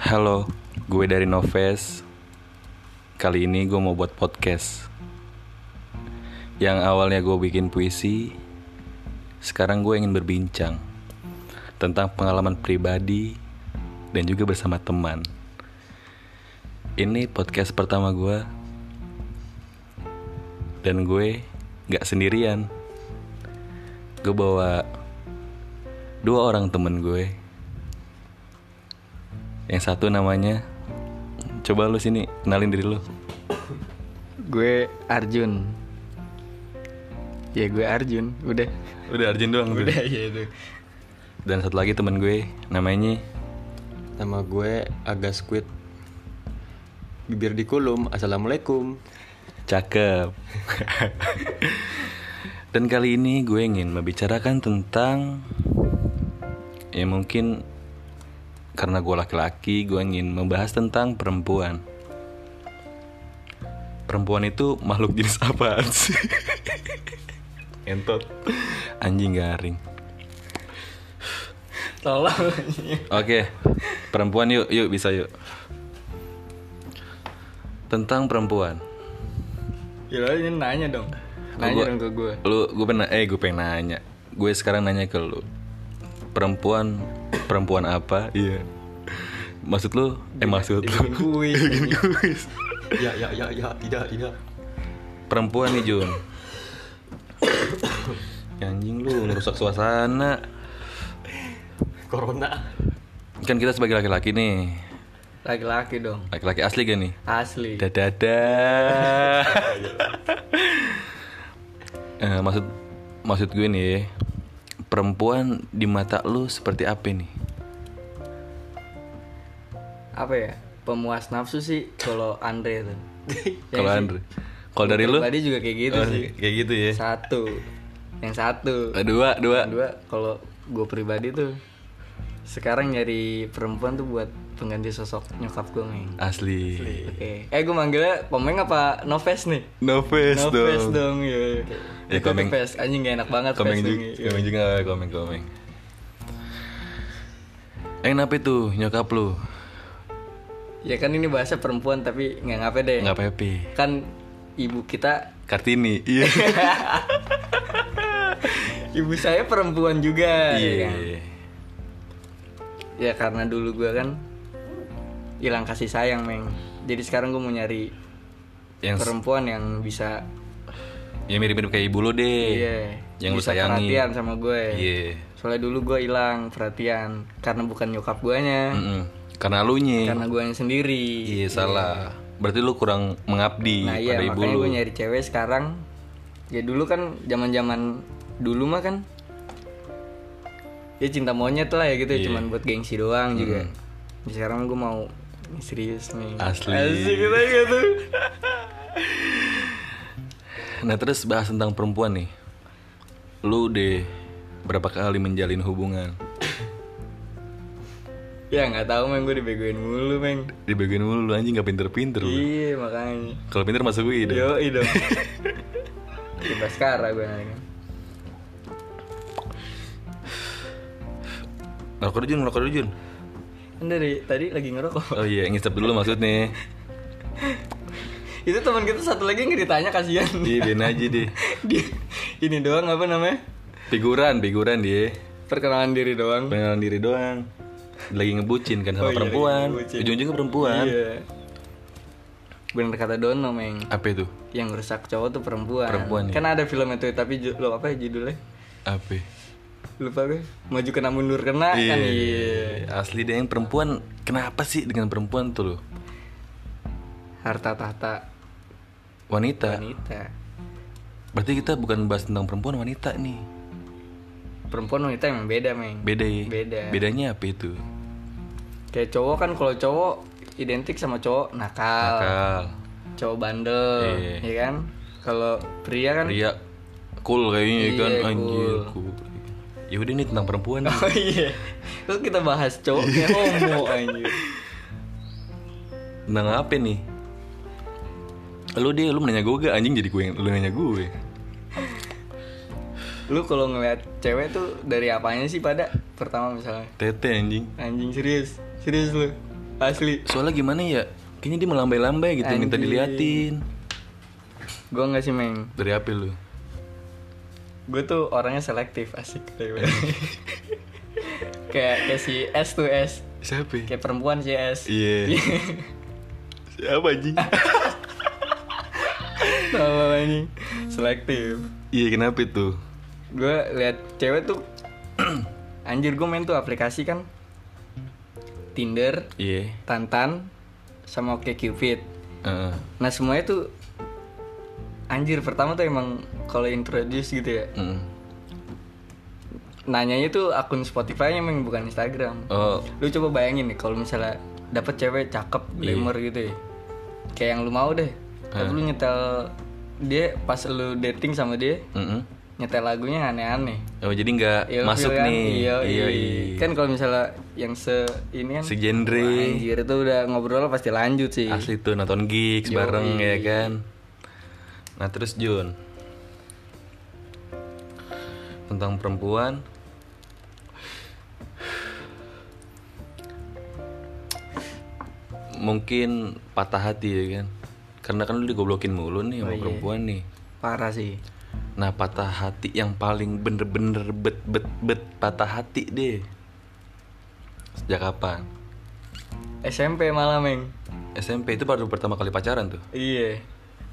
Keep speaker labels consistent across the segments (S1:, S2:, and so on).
S1: Halo, gue dari Noves. Kali ini gue mau buat podcast. Yang awalnya gue bikin puisi, sekarang gue ingin berbincang tentang pengalaman pribadi dan juga bersama teman. Ini podcast pertama gue, dan gue gak sendirian. Gue bawa dua orang temen gue. Yang satu namanya Coba lu sini kenalin diri lu
S2: Gue Arjun. Ya gue Arjun, udah.
S1: Udah Arjun doang tuh.
S3: iya
S2: ya itu.
S1: Dan satu lagi temen gue namanya
S3: Nama gue Aga Squid Bibir di kulum Assalamualaikum
S1: Cakep Dan kali ini gue ingin membicarakan tentang Ya mungkin Karena gue laki-laki gue ingin membahas tentang perempuan Perempuan itu makhluk jenis apaan sih? Entot Anjing garing
S2: Tolong.
S1: Oke, perempuan yuk, yuk bisa yuk. Tentang perempuan,
S2: ya lo ini nanya dong. Nanya
S1: Gua-
S2: dong ke gue.
S1: lu gue pengen, eh gue pengen nanya, gue sekarang nanya ke lu, perempuan, perempuan apa? Iya. Maksud lu, eh maksud lu,
S2: Bikin kuis. ini.
S3: Ya ya ya ya tidak tidak
S1: perempuan nih Jun. Ya, Anjing lu ngerusak suasana.
S3: Corona
S1: Kan kita sebagai laki-laki nih,
S2: Laki-laki dong.
S1: laki-laki asli gak nih?
S2: Asli.
S1: Dadada. Eh, maksud maksud gue nih, perempuan di mata lu seperti apa nih?
S2: Apa ya? Pemuas nafsu sih kalau Andre tuh. Ya
S1: Kalau
S2: sih?
S1: Andre, kalau dari lu?
S2: Pribadi juga kayak gitu
S1: Oh,
S2: sih.
S1: Kayak gitu
S3: iya.
S1: ya.
S2: Satu. Yang satu.
S1: Eh, Dua, dua.
S2: Yang dua kalau gue pribadi tuh sekarang nyari perempuan tuh buat pengganti sosok nyokap gue nih.
S1: Asli.
S2: Oke. Eh gue manggilnya Komeng apa Noves nih?
S1: Noves
S2: Noves
S1: dong.
S2: dong, ya.
S1: Ya,
S2: Itu
S1: Komeng.
S2: tuh Fes, anjing gak enak banget
S1: Komeng
S2: Fes
S1: juga,
S2: ini. Iya.
S1: komeng juga, komeng komeng. Eh kenapa itu nyokap lu?
S2: Ya kan ini bahasa perempuan tapi nggak ngapain deh.
S1: Nggak pepe.
S2: Kan ibu kita,
S1: Kartini. Iya.
S2: ibu saya perempuan juga. ya
S1: Iya.
S2: kan? Ya karena dulu gue kan hilang kasih sayang, Meng. Jadi sekarang gue mau nyari
S1: Yang
S2: perempuan yang bisa
S1: yang mirip-mirip kayak ibu lu deh.
S2: iya,
S1: Yang lu
S2: bisa
S1: sayangi.
S2: perhatian sama gue.
S1: Iya.
S2: Soalnya dulu gue hilang perhatian karena bukan nyokap guanya,
S1: Mm-mm. Karena lu nya.
S2: karena guanya sendiri.
S1: Iya salah. Berarti lu kurang mengabdi
S2: Nah iya
S1: pada ibu
S2: makanya
S1: lu.
S2: gue nyari cewek sekarang Ya dulu kan zaman zaman dulu mah kan Ya cinta monyet lah ya gitu
S1: Iya.
S2: ya Cuman buat gengsi doang juga Ya, Sekarang gue mau serius nih
S1: Asli.
S2: Asik kita gitu
S1: Nah terus bahas tentang perempuan nih. Lu deh berapa kali menjalin hubungan?
S2: Ya gak tau meng gue dibegoin mulu meng
S1: Di bagian mulu lu anjing gak pinter-pinter lu.
S2: Iya makanya
S1: Kalau pinter masuk gue deh.
S2: Yo dong Di Baskara gue nanya
S1: Ngerokok dulu, Jun, ngerokok dulu, Jun.
S2: Kan dari tadi lagi ngerokok
S1: Oh iya, ngisep dulu maksudnya.
S2: Itu teman kita satu lagi nggak ditanya kasihan
S1: Iya, biarin aja deh.
S2: Dia Ini doang apa namanya
S1: Figuran, figuran dia.
S2: Perkenalan diri doang
S1: Pengenalan diri doang. Lagi ngebucin kan sama
S2: Oh iya,
S1: perempuan.
S2: lagi ngebucin.
S1: Ujung-ujungnya perempuan.
S2: Iya. Bener kata Dono, Meng.
S1: Apa itu?
S2: Yang rusak cowok tuh perempuan.
S1: Perempuan, ya?
S2: Kan ada film itu tapi ju- lo apa ya judulnya?
S1: Apa?
S2: Lupa gue. Maju kena mundur kena kan. Iya.
S1: Asli deh yang perempuan, kenapa sih dengan perempuan tuh lo?
S2: Harta tahta
S1: Wanita.
S2: wanita.
S1: Berarti kita bukan bahas tentang perempuan wanita nih.
S2: Perempuan wanita emang beda, Meng.
S1: Beda ya.
S2: Beda.
S1: Bedanya apa itu?
S2: Kayak cowok kan kalau cowok identik sama cowok nakal,
S1: Nakal.
S2: cowok bandel,
S1: Iya.
S2: ya kan? Kalau pria kan
S1: Ria cool kayaknya ya kan
S2: Iya,
S1: anjir cool. Ya udah nih tentang perempuan. nih.
S2: Oh iya. Terus kita bahas cowok kayak homo anjir.
S1: tentang apa nih? Lu deh, lu nanya gue gak anjing jadi gue yang lu nanya gue.
S2: Lu kalau ngeliat cewek tuh dari apanya sih pada? Pertama misalnya
S1: Tete anjing.
S2: Anjing serius Serius lu asli
S1: Soalnya gimana ya? Kayaknya dia melambai-lambai gitu, minta
S2: Anjing.
S1: diliatin.
S2: gue nggak sih meng
S1: Dari apa lu?
S2: gue tuh orangnya selektif asik kayak kayak si S tuh S
S1: Siapa?
S2: kayak perempuan si S
S3: Iya. Siapa anjing?
S2: Tau ini selektif
S1: Iya, kenapa itu?
S2: gue lihat cewek tuh anjir gue main tuh aplikasi kan Tinder
S1: Iya.
S2: Tantan sama OkCupid
S1: Heeh.
S2: nah semuanya tuh anjir pertama tuh emang kalau introduce gitu ya
S1: Mm.
S2: nanyanya tuh akun Spotify-nya emang bukan Instagram
S1: Oh,
S2: lu coba bayangin nih kalau misalnya dapet cewek cakep
S1: Iya.
S2: glamour gitu ya kayak yang lu mau deh tapi lu nyetel dia pas lu dating sama dia
S1: mm-mm.
S2: nyetel lagunya yang aneh-aneh
S1: Oh, jadi nggak
S2: Ilfil
S1: masuk
S2: kan?
S1: nih.
S2: iya, iya,
S1: iya.
S2: kan kalau misalnya yang se ini kan
S1: Segenre.
S2: wah, anjir itu udah ngobrol pasti lanjut sih
S1: Asli tuh nonton gigs bareng ya kan. Nah terus Jun tentang perempuan. Mungkin patah hati ya kan. Karena kan lu digoblokin mulu nih
S2: Oh, iya,
S1: sama perempuan nih.
S2: parah sih
S1: Nah patah hati yang paling bener-bener bet bet bet patah hati deh. Sejak kapan?
S2: SMP malah meng
S1: SMP itu baru pertama kali pacaran tuh.
S2: iya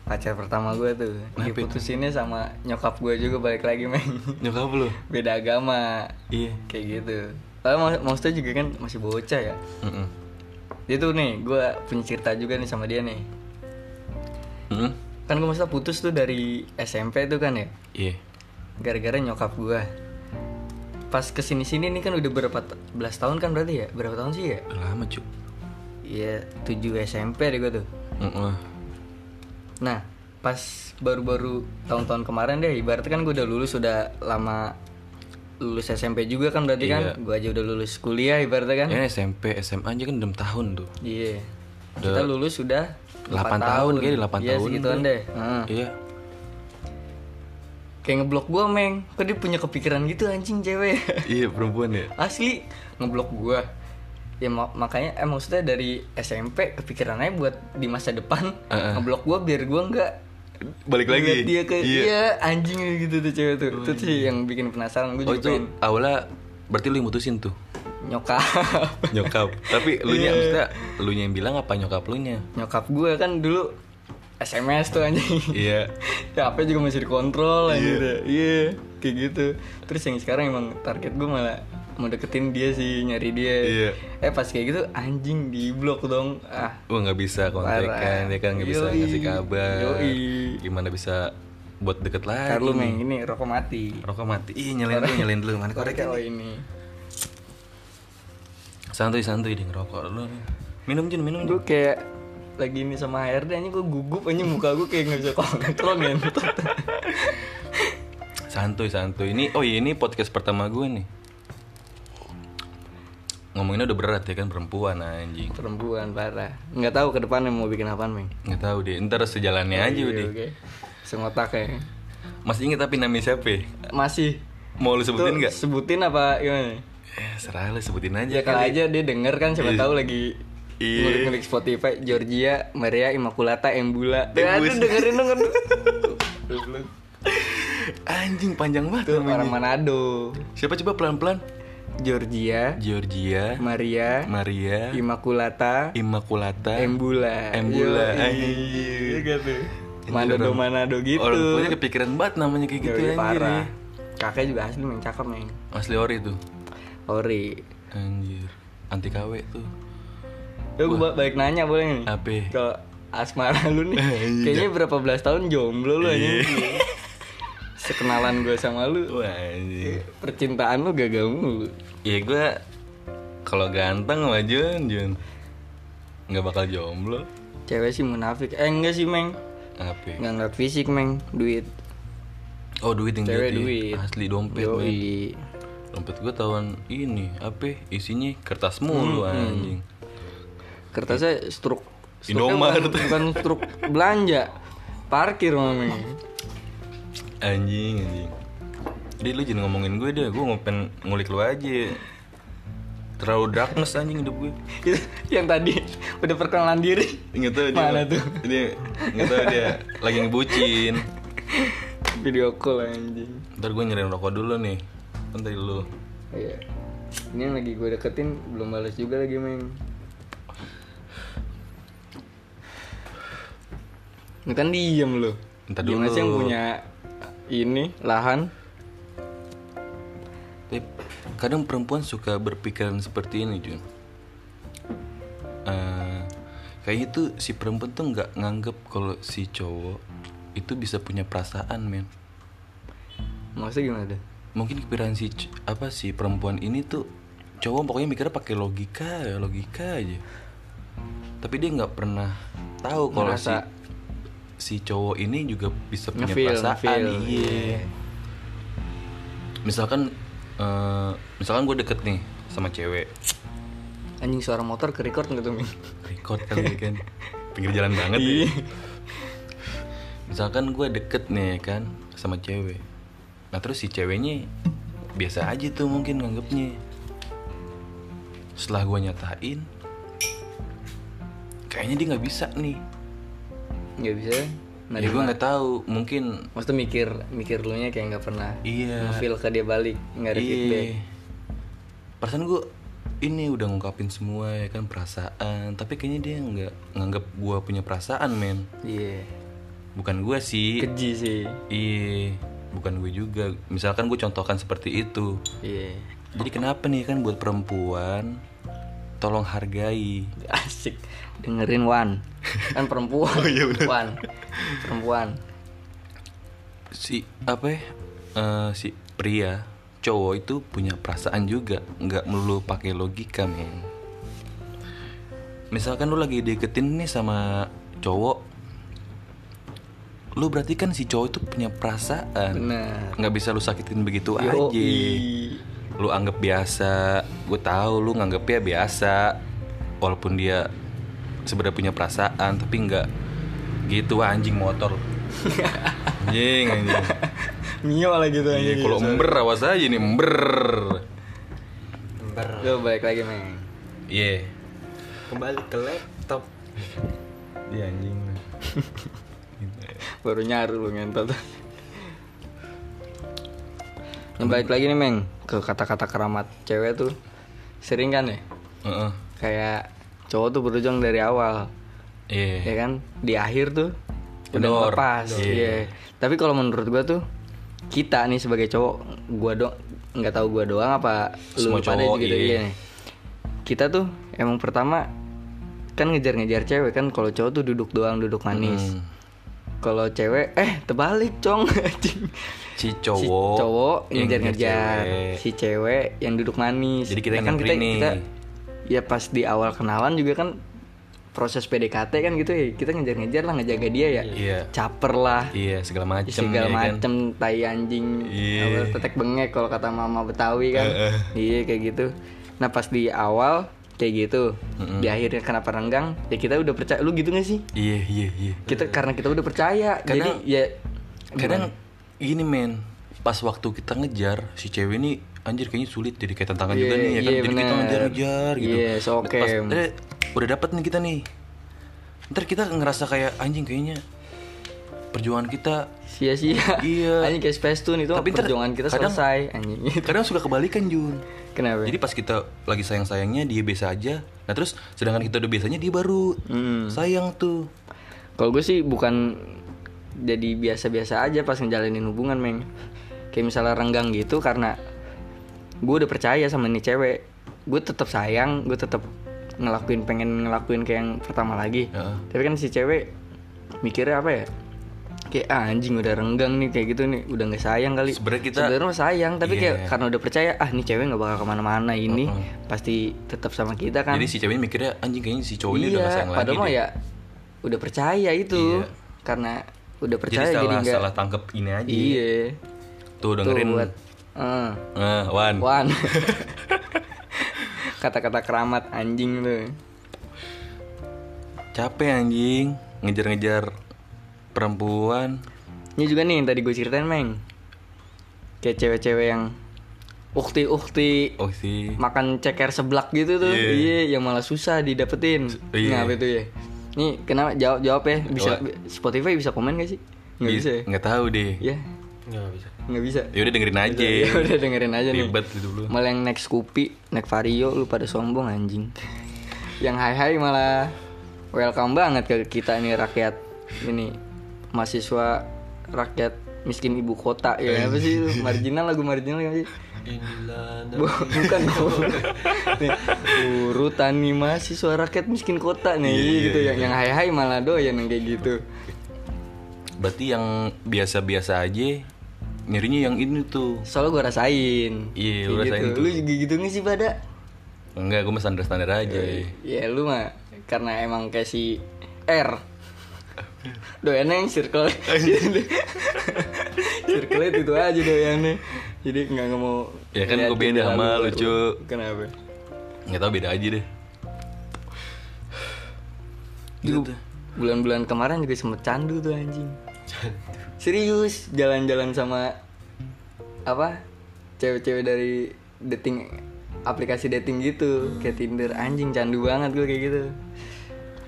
S2: pacar pertama gue tuh
S1: Kenapa
S2: diputusinnya sama nyokap gue juga balik lagi meng
S1: Nyokap lu?
S2: beda agama
S1: Iya.
S2: kayak gitu Padahal mak- maksudnya juga kan masih bocah ya
S1: Mm-mm.
S2: dia tuh nih gue punya cerita juga nih sama dia nih
S1: Mm-mm.
S2: kan gue maksudnya putus tuh dari SMP tuh kan ya
S1: Iya.
S2: gara-gara nyokap gue pas kesini sini nih kan udah berapa t- belas tahun kan berarti ya berapa tahun sih ya
S1: Udah Lama cu.
S2: Iya 7 SMP deh gue tuh
S1: Mm-mm.
S2: nah pas baru-baru tahun-tahun kemarin deh ibaratnya kan gue udah lulus udah lama lulus SMP juga kan berarti
S1: Iya.
S2: kan gue aja udah lulus kuliah ibaratnya kan
S1: Ya SMP, SMA aja kan 6 tahun tuh.
S2: Iya. Kita lulus sudah
S1: 8 tahun, kayaknya 8
S2: Iya,
S1: tahun.
S2: segituan deh. Heeh.
S1: Iya.
S2: Kayak ngeblok gua, Meng. Kok dia punya kepikiran gitu anjing cewek.
S1: Iya perempuan ya.
S2: Asli ngeblok gua. Ya ma- makanya eh maksudnya dari SMP kepikirannya buat di masa depan ngeblok gua biar gua nggak
S1: Balik
S2: ngeliat dia ke iya anjing gitu tuh cewek tuh. Itu sih yang bikin penasaran gua
S1: Oh
S2: juga
S1: itu
S2: pengen
S1: awalnya berarti lu yang mutusin tuh Iya.
S2: nyokap.
S1: nyokap. Tapi lu nya maksudnya lu yang bilang apa nyokap lu nya?
S2: nyokap gua kan dulu SMS tuh anjing.
S1: Iya.
S2: ya apa juga masih dikontrol aja gitu iya kayak gitu terus yang sekarang emang target gue malah mau deketin dia sih nyari dia
S1: Iya.
S2: eh pas kayak gitu anjing di blok dong ah
S1: Wah nggak bisa kontekan,
S2: Parah.
S1: dia kan nggak bisa
S2: Yoi.
S1: ngasih kabar.
S2: Yoi.
S1: Gimana bisa buat deket lagi?
S2: Carlo main ini rokok mati
S1: Rokok mati. Ih nyalain dulu, nyalain dulu. Mana korek?
S2: oh ini
S1: Santuy santuy ding rokok lu. Minum Jun, minum. Jun.
S2: gue kayak lagi ini sama HRD anjing gue gugup anjing muka gue kayak nggak bisa kontrol ngentot
S1: Santuy santuy ini oh iya ini podcast pertama gue nih ngomonginnya udah berat ya kan perempuan anjing
S2: perempuan parah nggak tahu ke depannya mau bikin apaan meng
S1: nggak tahu deh ntar sejalannya aja
S2: Iya,
S1: udah
S2: oke sengotak ya
S1: masih inget tapi namanya siapa ya?
S2: masih
S1: mau lu sebutin
S2: Tuh,
S1: nggak
S2: sebutin apa gimana
S1: eh, serah lu sebutin
S2: Ya
S1: aja
S2: kalau
S1: kali
S2: aja dia denger kan siapa tahu lagi
S1: Iya.
S2: ngulik-ngulik Spotify Georgia Maria Immaculata Embula. Tuh, aduh dengerin dong aduh.
S1: anjing panjang banget
S2: Tuh
S1: namanya.
S2: orang Manado.
S1: siapa coba pelan pelan
S2: Georgia
S1: Georgia
S2: Maria
S1: Maria
S2: Iya. Immaculata
S1: Immaculata
S2: Embula.
S1: Embula
S2: Yoi. Iya
S1: anjing
S2: kan tuh. Manado Manado gitu.
S1: orang punya kepikiran banget namanya kayak gitu anjir
S2: Yoi,
S1: ya.
S2: Iya, parah. Kakak juga asli main cakep main.
S1: asli ori tuh
S2: Ori.
S1: anjir anti KW tuh
S2: Yo gue balik nanya boleh nih.
S1: apa
S2: Kalau asmara lu nih kayaknya berapa belas tahun jomblo lu aja. Sekenalan gue sama lu
S1: Wah, anjing.
S2: percintaan lu gagal mulu
S1: Ya gue kalau ganteng mah Jun, Jun nggak bakal jomblo.
S2: cewek sih munafik eh enggak sih meng
S1: Apa?
S2: nggak ngeliat fisik meng duit
S1: Oh duit yang
S2: Cewek
S1: jadi.
S2: duit.
S1: Asli dompet. men.
S2: Yoi.
S1: Dompet gue tahun ini apa? Isinya kertas mulu anjing.
S2: kertasnya struk struknya
S1: Indomaret.
S2: bukan, bukan struk belanja parkir mami
S1: Anjing, anjing. Jadi lu jangan ngomongin gue deh, gue ngopen ngulik lu aja. Terlalu darkness anjing hidup gue.
S2: Itu yang tadi udah perkenalan diri
S3: Nggak tahu dia
S2: Mana tuh?
S3: Dia nggak tahu dia lagi ngebucin.
S2: video call anjing
S1: Ntar gue nyariin rokok dulu nih. Kan tadi lu.
S2: iya ini yang lagi gue deketin belum balas juga lagi meng ini kan diem lo
S1: Ntar
S2: Diem
S1: dulu.
S2: aja yang punya ini lahan
S1: Tapi kadang perempuan suka berpikiran seperti ini, Jun. Eh, kayaknya tuh si perempuan tuh nggak nganggep kalau si cowok itu bisa punya perasaan, men.
S2: maksudnya gimana deh
S1: Mungkin kepikiran si c- apa si perempuan ini tuh cowok pokoknya mikirnya pakai logika, ya, logika aja. Tapi dia nggak pernah tahu kalau si
S2: Ngerasa.
S1: si cowok ini juga bisa punya
S2: Ngefeel,
S1: perasaan,
S2: ngefeel,
S1: iya.
S2: iya.
S1: Misalkan eh, misalkan gue deket nih sama cewek,
S2: anjing suara motor ke record nggak tuh Ming? Iya.
S1: record kali ya kan pinggir jalan banget ya misalkan gue deket nih ya kan sama cewek nah terus si ceweknya biasa aja tuh mungkin nganggepnya setelah gue nyatain kayaknya dia nggak bisa nih
S2: nggak bisa nah
S1: ya gue nggak tahu mungkin
S2: maksudnya mikir mikir lu nya kayak nggak pernah
S1: Iya.
S2: ngefeel ke dia balik nggak ada feedback
S1: iya perasaan gue ini udah ngungkapin semua ya kan perasaan tapi kayaknya dia nggak nganggep gue punya perasaan men
S2: iya
S1: bukan gue sih
S2: keji sih
S1: Iya, bukan gue juga. Misalkan gue contohkan seperti itu.
S2: iya
S1: Jadi kenapa nih kan buat perempuan, tolong hargai.
S2: asik dengerin Wan kan perempuan oh, iya Wan perempuan
S1: Si apa ya? Eh, si pria, cowok itu punya perasaan juga, nggak melulu pakai logika men. Misalkan lu lagi deketin nih sama cowok, lu berarti kan si cowok itu punya perasaan,
S2: bener
S1: nggak bisa lu sakitin begitu
S2: Yo,
S1: aja. lu anggap biasa gue tahu lu nganggapnya biasa walaupun dia sebenarnya punya perasaan tapi nggak gitu wah, anjing motor anjing anjing
S2: mio lah gitu
S1: Iya,
S2: aja
S1: kalau ember awas aja nih ember
S2: lo balik lagi meng
S1: iya
S3: Kembali ke laptop.
S1: Iya,
S3: Dia anjing.
S2: baru nyaru lu ngentot yang balik lagi nih meng ke kata-kata keramat cewek tuh sering kan ya
S1: Heeh.
S2: kayak cowok tuh berjuang dari awal
S1: iya
S2: ya kan di akhir tuh
S1: Kendor.
S2: udah lepas
S1: Kendor.
S2: iya tapi kalau menurut gua tuh kita nih sebagai cowok gua dong nggak tahu gua doang apa
S1: Semua
S2: lu pada
S1: cowok,
S2: juga gitu,
S1: iya.
S2: iya nih. kita tuh emang pertama kan ngejar-ngejar cewek kan kalau cowok tuh duduk doang duduk manis
S1: Hmm.
S2: kalau cewek eh terbalik cong Anjing.
S1: si
S2: si
S1: cowok
S2: cowok
S1: yang
S2: ngejar-ngejar
S1: cewek.
S2: si cewek yang duduk manis
S1: Jadi kita yang
S2: kan kita,
S1: nganterin nih.
S2: kita ya pas di awal kenalan juga kan proses PDKT kan gitu ya kita ngejar-ngejar lah ngejaga dia ya
S1: Iya.
S2: caper lah
S1: iya segala macem
S2: segala
S1: ya kan?
S2: macem tai anjing
S1: Iya.
S2: apa, tetek bengek kalau kata mama betawi kan iya kayak gitu nah pas di awal kayak gitu di akhirnya kenapa renggang ya kita udah percaya lu gitu gak sih
S1: iya iya iya
S2: kita karena kita udah percaya
S1: Kadang-
S2: jadi ya
S1: kadang gini men pas waktu kita ngejar si cewek ini anjir kayaknya sulit jadi kayak tantangan
S2: Iya,
S1: juga nih ya kan
S2: iya,
S1: jadi kita
S2: bener.
S1: ngejar-ngejar gitu
S2: Iya, so oke.
S1: pas eh, udah dapet nih kita nih ntar kita ngerasa kayak anjing kayaknya perjuangan kita
S2: sia-sia
S1: Iya.
S2: anjing kayak space tune itu
S1: Tapi ntar
S2: perjuangan kita
S1: kadang-
S2: selesai anjing
S1: kadang suka kebalikan Jun
S2: kenapa
S1: jadi pas kita lagi sayang-sayangnya dia biasa aja nah terus sedangkan kita udah biasanya dia baru
S2: Hmm.
S1: sayang tuh
S2: kalau gue sih bukan jadi biasa-biasa aja pas ngejalanin hubungan meng kayak misalnya renggang gitu karena gue udah percaya sama nih cewek gue tetap sayang gue tetap ngelakuin pengen ngelakuin kayak yang pertama lagi
S1: Heeh.
S2: tapi kan si cewek mikirnya apa ya kayak ah, anjing udah renggang nih kayak gitu nih udah nggak sayang kali
S1: Sebenarnya kita-
S2: Sebenarnya mah sayang tapi
S1: Iya.
S2: kayak karena udah percaya ah nih cewek nggak bakal kemana-mana ini pasti tetap sama kita kan
S1: jadi si cewek ini mikirnya anjing kayaknya si cowok Oh, ini udah gak sayang
S2: padahal
S1: lagi
S2: mah
S1: deh."
S2: ya udah percaya itu
S1: Iya.
S2: karena udah
S1: jadi
S2: percaya jadi,
S1: salah
S2: nggak-
S1: salah tangkep ini aja
S2: iya
S1: tuh dengerin
S2: tuh buat eh,
S1: Eh, Wan.
S2: wan kata-kata keramat anjing tuh
S1: capek anjing ngejar-ngejar perempuan
S2: ini juga nih yang tadi gue ceritain meng kayak cewek-cewek yang ukti ukti
S1: oh sih
S2: makan ceker seblak gitu tuh
S3: Iya.
S2: iya yang malah susah didapetin nah
S3: iya.
S2: itu ya ini kenapa jawab jawab ya bisa
S1: oh, Jawab. Iya.
S2: Spotify bisa komen gak sih nggak bisa ya
S1: nggak tahu deh
S2: ya
S3: Nggak bisa.
S2: nggak bisa
S1: ya udah dengerin aja
S2: ya udah dengerin aja nih
S1: ribet gitu dulu
S2: malah yang next Scoopy next Vario lu pada sombong anjing yang hai hai malah welcome banget ke kita nih rakyat ini mahasiswa rakyat miskin ibu kota ya apa sih lu? marginal lagu marginal ya sih
S3: Inilah
S2: Bu- bukan bukan. nih, urutan nih mahasiswa rakyat miskin kota
S1: Iya,
S2: nih gitu yang yang hai hai malah doyan yang kayak gitu
S1: berarti yang biasa-biasa aja nyerinya yang ini tuh
S2: soalnya gue rasain
S1: Iya, lu
S2: Kayak
S1: rasain
S2: gitu.
S1: tuh.
S2: lu juga gitu nggak sih pada
S1: enggak gue mah standar-standar aja
S2: Ya lu mah karena emang kayak si R. Doyannya yang circle. circle itu aja doyannya. Jadi nggak nggak mau.
S1: Ya kan
S2: ngeliat
S1: gua beda
S2: jendela
S1: sama lu,
S2: luar.
S1: Cu.
S2: Kenapa?
S1: nggak tahu beda aja deh
S2: Lu
S1: Gitu.
S2: bulan-bulan kemarin juga sempet candu tuh anjing. Serius jalan-jalan sama apa cewek-cewek dari dating aplikasi dating gitu
S1: Hmm.
S2: kayak Tinder anjing candu banget gue kayak gitu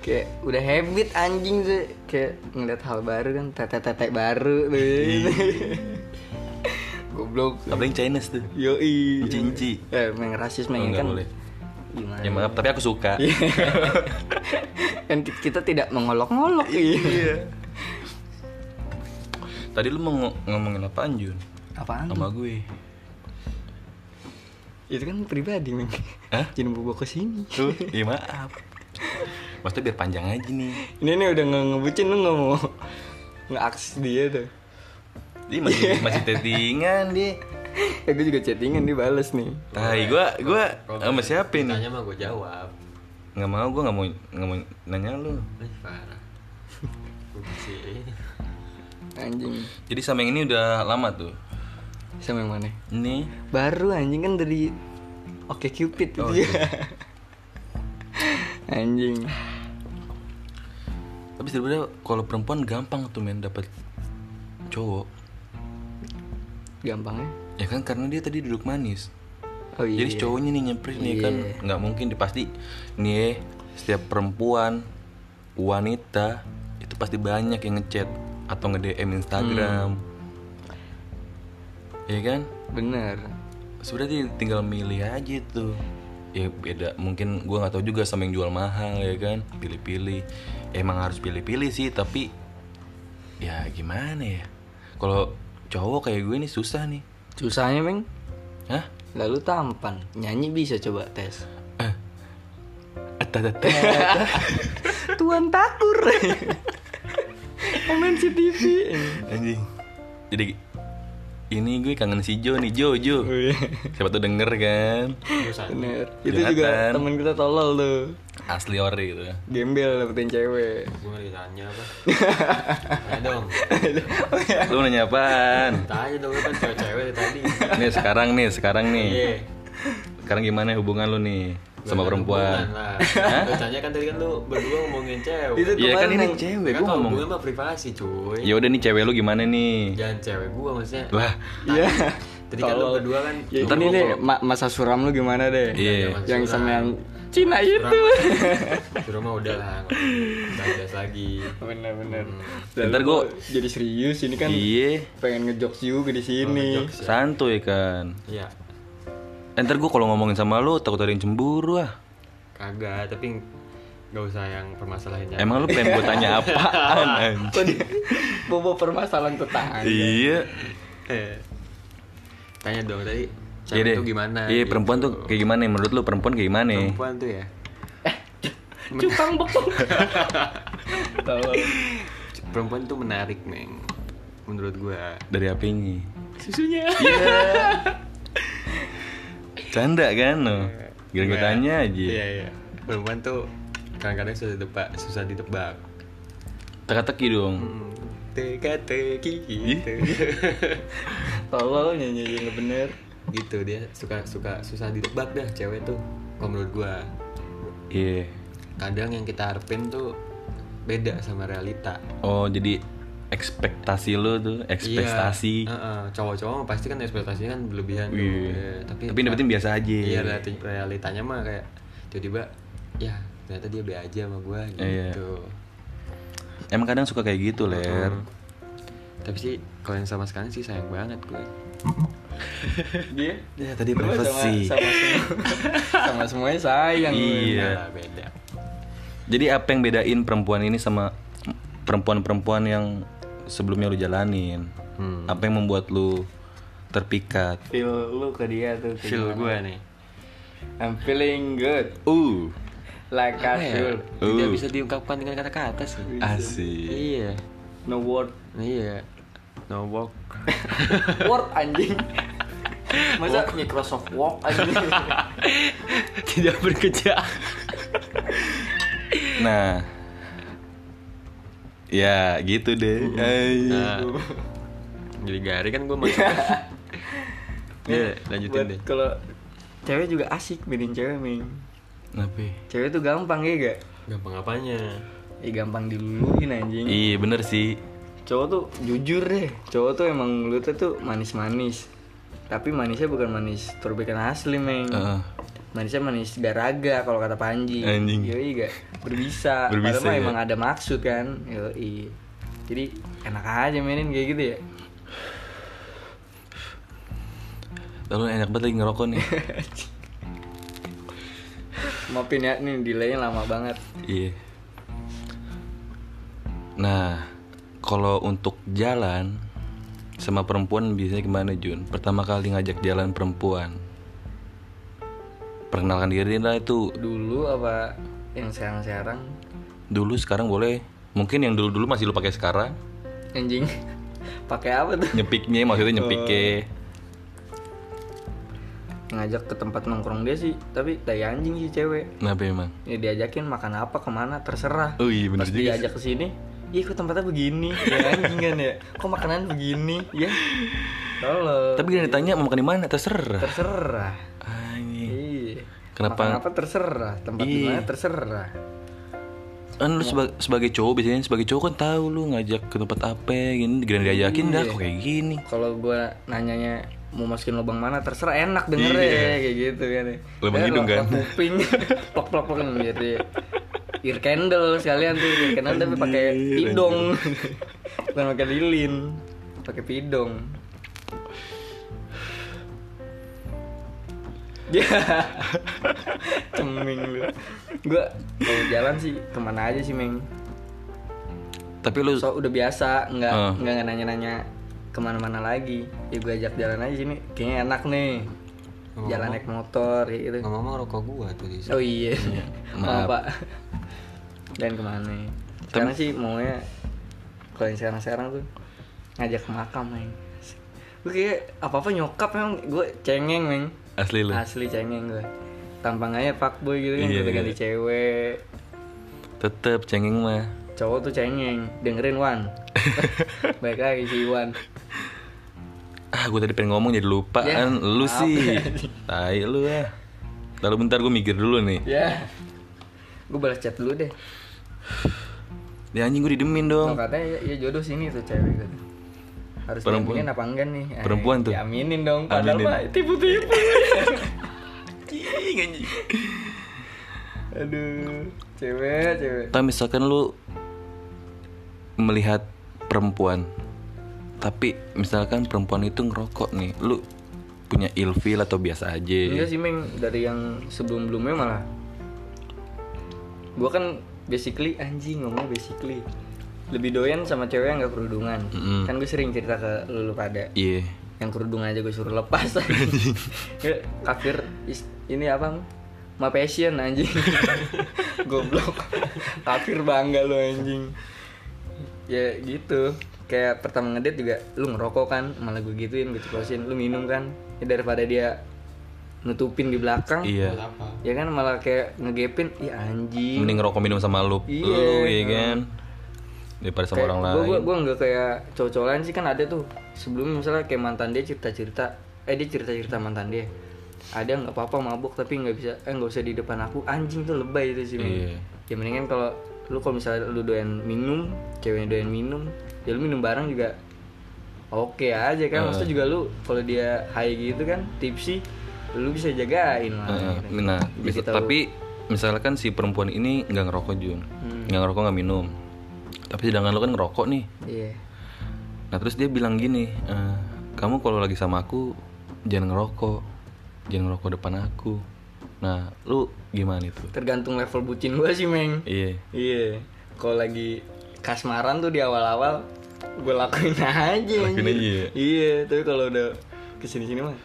S2: kayak udah habit anjing tuh kayak ngeliat hal baru kan tete tete baru tuh goblok
S1: apalagi Chinese tuh
S2: yoi
S1: Cinci.
S2: eh main rasis main
S1: Nggak
S2: kan
S1: boleh.
S2: gimana
S1: ya maaf tapi aku suka
S2: Iya. kan kita tidak mengolok-ngolok iya
S1: tadi lu mau ngo- ngomongin apaan Jun
S2: apaan tuh?
S1: sama gue
S2: itu kan pribadi men
S1: Hah?
S2: jangan bawa ke sini
S1: tuh ya maaf maksudnya biar panjang aja nih
S2: ini nih udah nge ngebucin lu nggak mau ngeaks dia tuh
S1: dia masih
S2: Iya.
S1: masih tettingan dia
S2: ya gue juga chattingan dibales nih
S1: tai gue gue sama siapa nih
S3: Tanya mah gue jawab.
S1: nggak mau gue nggak mau nggak mau nanya lu
S3: Ih, parah. Gua sih.
S2: anjing
S1: jadi sama yang ini udah lama tuh
S2: sama yang mana
S1: ini
S2: baru anjing kan dari oke cupid itu anjing
S1: tapi sebenarnya kalau perempuan gampang tuh men dapat cowok
S2: gampangnya
S1: ya kan karena dia tadi duduk manis
S2: oh iya
S1: Jadi si cowoknya nih nyemprit nih kan
S3: Iya.
S1: nggak mungkin deh, pasti nih eh, setiap perempuan wanita itu pasti banyak yang ngechat atau nge DM Instagram,
S3: Hmm.
S1: Iya kan?
S2: bener
S1: Sebenarnya tinggal milih aja tuh. Ya beda mungkin gua nggak tahu juga sama yang jual mahal ya kan, pilih-pilih. Emang harus pilih-pilih sih tapi ya gimana ya? Kalau cowok kayak gue nih susah nih,
S2: susahnya meng
S1: hah?
S2: lalu tampan nyanyi bisa coba tes
S1: Eh, Atatat.
S2: Tuan Takur Komen si TV
S1: Anjing. Jadi ini gue kangen si Jo nih, Jo, Jo.
S2: Oh, iya.
S1: Siapa tuh denger kan?
S2: Bener
S1: Iya
S2: Itu juga
S1: Jonathan.
S2: temen kita tolol tuh
S1: Asli ori gitu.
S2: Gembel dapetin cewek
S3: Gue nggak ditanya apa. Tanya dong.
S1: Lu nanya apaan?
S3: Tanya dong lu kan cewek-cewek dari tadi.
S1: Nih sekarang nih, sekarang nih.
S3: Iya.
S1: Sekarang gimana hubungan lu nih sama
S3: Hubungan
S1: perempuan?
S3: lah. Lu tanya kan tadi kan lu berdua ngomongin cewek.
S2: Itu
S1: Iya kan
S2: kemarin
S1: ini
S2: yang
S1: cewek,
S3: Kan
S1: gue
S3: kalau
S1: ngomong.
S3: hubungan mah privasi cuy.
S1: Ya udah nih cewek lu gimana nih?
S3: Jangan cewek gua maksudnya.
S1: Lah,
S2: Iya
S3: Tadi kan lu berdua kan
S2: Ya, ini deh ma- masa suram lu gimana deh
S1: Iya.
S2: Yang sama yang Cina
S1: Gitu.
S2: itu
S3: di rumah udah lah. Nggak jelas lagi.
S2: Bener-bener
S1: Hmm. Bentar, gua-
S2: Lalu jadi serius ini kan
S1: iya, Oh,
S2: pengen ngejokes juga di sini.
S3: Jokes ya.
S1: santuy kan.
S3: Iya.
S1: Eh, Ntar gue kalau ngomongin sama lu takut ada yang cemburu ah.
S3: Kagak, tapi nggak usah yang permasalahannya.
S1: Emang lu pengen gue tanya apaan? anjing?
S2: Tadi bobo permasalahan tetangga.
S1: Iya.
S3: Eh. Tanya dong tadi
S1: Iya
S3: cewek
S1: deh.
S3: itu gimana?
S1: Iya,
S3: gitu.
S1: perempuan tuh kayak gimana? Menurut lu perempuan kayak gimana?
S3: Perempuan tuh ya.
S2: Cupang bokong. Tolong.
S3: Perempuan tuh menarik, Neng. Menurut gua.
S1: Dari apinya.
S2: Susunya.
S1: Canda kan lo? Gila gue
S3: Nggak.
S1: tanya aja.
S3: Iya, iya. Perempuan tuh kadang-kadang susah ditebak, susah ditebak.
S1: Teka-teki dong.
S3: Hmm, Teka-teki gitu.
S2: Tolol nyanyi yang nggak bener.
S3: gitu dia suka suka susah ditebak dah cewek tuh kalau menurut gua.
S1: Iya.
S3: Kadang yang kita harapin tuh beda sama realita.
S1: Oh, jadi ekspektasi lu tuh ekspektasi
S3: Iya, heeh. cowok-cowok mah pasti kan ekspektasinya kan berlebihan tuh.
S1: Iya.
S3: Iya, tapi
S1: Tapi dapetin biasa aja.
S3: Iya, realit- realitanya mah kayak tiba-tiba ya ternyata dia be aja sama gua gitu.
S1: Iya. emang kadang suka kayak gitu ler
S3: Tapi sih kalau yang sama sekarang sih sayang banget gue.
S2: Dia?
S1: Ya, tadi
S2: Lu
S1: privacy.
S2: Sama, sama, semua, sama semuanya sayang. lu.
S1: Iya.
S3: Nah, beda.
S1: jadi apa yang bedain perempuan ini sama perempuan-perempuan yang sebelumnya lu jalanin
S3: Hmm.
S1: apa yang membuat lu terpikat
S2: Feel lu ke dia tuh. kayak
S3: Feel
S2: gimana?
S3: gue nih.
S2: I'm feeling good.
S1: uh
S2: Like I
S3: Iya.
S2: feel.
S3: Tidak
S1: Uh.
S3: bisa diungkapkan dengan kata-kata sih.
S1: asik
S3: Iya.
S2: No word.
S3: Iya. No walk.
S2: Word anjing. Masa Microsoft Word anjing.
S3: Tidak bekerja.
S1: nah ya gitu deh Ay.
S3: Nah, jadi gari kan gue masuk. Iya, lanjutin
S2: Buat
S3: deh.
S2: Kalau cewek juga asik bedain cewek, Ming.
S1: Kenapa?
S2: Cewek tuh gampang ya gak?
S3: Gampang apanya?
S2: Ya gampang diluluhin anjing.
S1: iya bener sih
S2: cowok tuh jujur deh cowok tuh emang mulutnya tuh manis-manis tapi manisnya bukan manis turbikan asli meng
S3: Hmm.
S1: Heeh.
S2: manisnya manis garaga kalau kata Panji
S1: Anjing.
S2: yoi gak berbisa,
S1: Berbisa,
S2: padahal mah
S1: ya.
S2: emang ada maksud kan yoi jadi enak aja mainin kayak gitu ya
S1: lalu enak banget lagi ngerokok nih
S2: maafin ya nih delaynya lama banget
S1: Iya. Nah, kalau untuk jalan sama perempuan biasanya gimana Jun? Pertama kali ngajak jalan perempuan. Perkenalkan diri lah itu.
S2: dulu apa yang sekarang-sekarang
S1: Dulu sekarang boleh. Mungkin yang dulu-dulu masih lu pakai sekarang.
S2: anjing pakai apa tuh
S1: Nyepiknya maksudnya nyepiknya.
S2: ngajak ke tempat nongkrong dia sih tapi tai anjing sih cewek
S1: Kenapa emang?
S2: ya diajakin makan apa kemana terserah
S1: Oh iya bener
S2: pas
S1: juga sih.
S2: diajak ke sini ih kok tempatnya begini ya anjing kan ya kok makanan begini ya tolong
S1: Tapi gini ditanya mau makan di mana terserah.
S2: terserah
S1: Anjing.
S2: iya
S1: Kenapa-
S2: makan apa terserah tempat di mana terserah
S1: Kan lu seba- sebagai cowok biasanya sebagai cowok kan tahu lu ngajak ke tempat apa gini giliran diajakin dah kok kayak gini.
S2: kalau gua nanyanya mau masukin lubang mana terserah enak denger ya kayak gitu kan ya.
S1: Iya. Lubang
S2: Ya,
S1: hidung, kan?
S2: lubang kuping plok plok plok gitu ya. ear candle sekalian tuh ear candle tapi pakai pidong bukan pakai lilin pakai pidong ya ceming lu gua kalau jalan sih kemana aja sih meng
S1: Tapi lu
S2: so udah biasa nggak
S1: Ah.
S2: nggak nggak nanya-nanya kemana-mana lagi ya gue ajak jalan aja sini kayaknya enak nih jalan naik motor kayak gitu
S3: Ngomong-ngomong rokok gue tuh di
S2: oh iya
S1: Maaf.
S2: maaf pak dan kemana karena sih maunya kalau yang sekarang-sekarang tuh ngajak ke makam meng gue kayak apa apa nyokap emang gue cengeng meng
S1: asli lu.
S2: asli cengeng gue tampang aja fuckboy gitu kan
S1: Iya,
S2: ganti ganti
S1: iya.
S2: cewek
S1: Tetep cengeng mah.
S2: cowok tuh cengeng dengerin Wan baik lagi si Wan
S1: Ah, gue tadi pengen ngomong jadi lupa
S2: Ya,
S1: kan. Lu
S2: maaf.
S1: sih. Tai lu ya. Lalu bentar gue mikir dulu nih.
S2: Ya. Gue balas chat dulu deh.
S1: Ya anjing gue didemin dong.
S2: Kalau katanya ya, ya jodoh sini tuh cewek gitu. Harus
S1: Perempuan.
S2: diaminin apa enggak nih? Eh,
S1: Perempuan tuh.
S2: Diaminin dong. Padahal
S1: Aminin.
S2: mah tipu-tipu. Anjing, anjing. Aduh, cewek, cewek.
S1: Tapi misalkan lu melihat perempuan tapi misalkan perempuan itu ngerokok nih, lu punya ilfil atau biasa aja.
S2: Enggak Iya sih, Ming. Dari yang sebelum-belumnya malah. Gue kan basically anjing ngomong basically lebih doyan sama cewek yang gak kerudungan kan gue sering cerita ke lulu pada
S1: Iya.
S2: yang kerudung aja gue suruh lepas Ya, kafir is- ini apa ma passion anjing goblok kafir bangga lo anjing ya gitu kayak pertama ngedit juga lu ngerokok kan malah gue gituin gue ceplosin lu minum kan ya, daripada dia nutupin di belakang
S1: Iya.
S3: Apa?
S2: ya kan malah kayak ngegepin ya anjing
S1: Mending ngerokok minum sama lu.
S2: Iya.
S1: Lu ya kan. Daripada sama orang lain.
S2: Gue gue nggak kayak cowok-cowok lain sih kan ada tuh sebelumnya misalnya kayak mantan dia cerita-cerita, eh dia cerita-cerita mantan dia. Ada nggak apa-apa mabuk tapi nggak bisa, eh nggak usah di depan aku anjing tuh lebay itu sih. Min.
S1: Iya.
S2: Ya mendingan kalau lu kalau misalnya lu doyan minum, ceweknya doyan minum, ya ya lu minum bareng juga oke aja
S1: Eh.
S2: kan maksudnya juga lu kalau dia high gitu kan tipsy lu bisa jagain lah
S1: Heeh,
S2: gitu.
S1: nah
S2: Jadi
S1: bisa-
S2: tahu.
S1: tapi misalkan si perempuan ini nggak ngerokok Jun
S2: Hmm.
S1: nggak ngerokok nggak minum tapi sedangkan lo kan ngerokok nih
S2: iya
S1: nah terus dia bilang gini "Eh, kamu kalau lagi sama aku jangan ngerokok jangan ngerokok depan aku nah lu gimana itu
S2: tergantung level bucin gua sih meng
S1: iya
S2: iya kalau lagi kasmaran tuh di awal-awal gue lakuin aja
S1: Lakuin
S2: anjing.
S1: aja ya?
S2: iya tapi kalau udah kesini-sini mah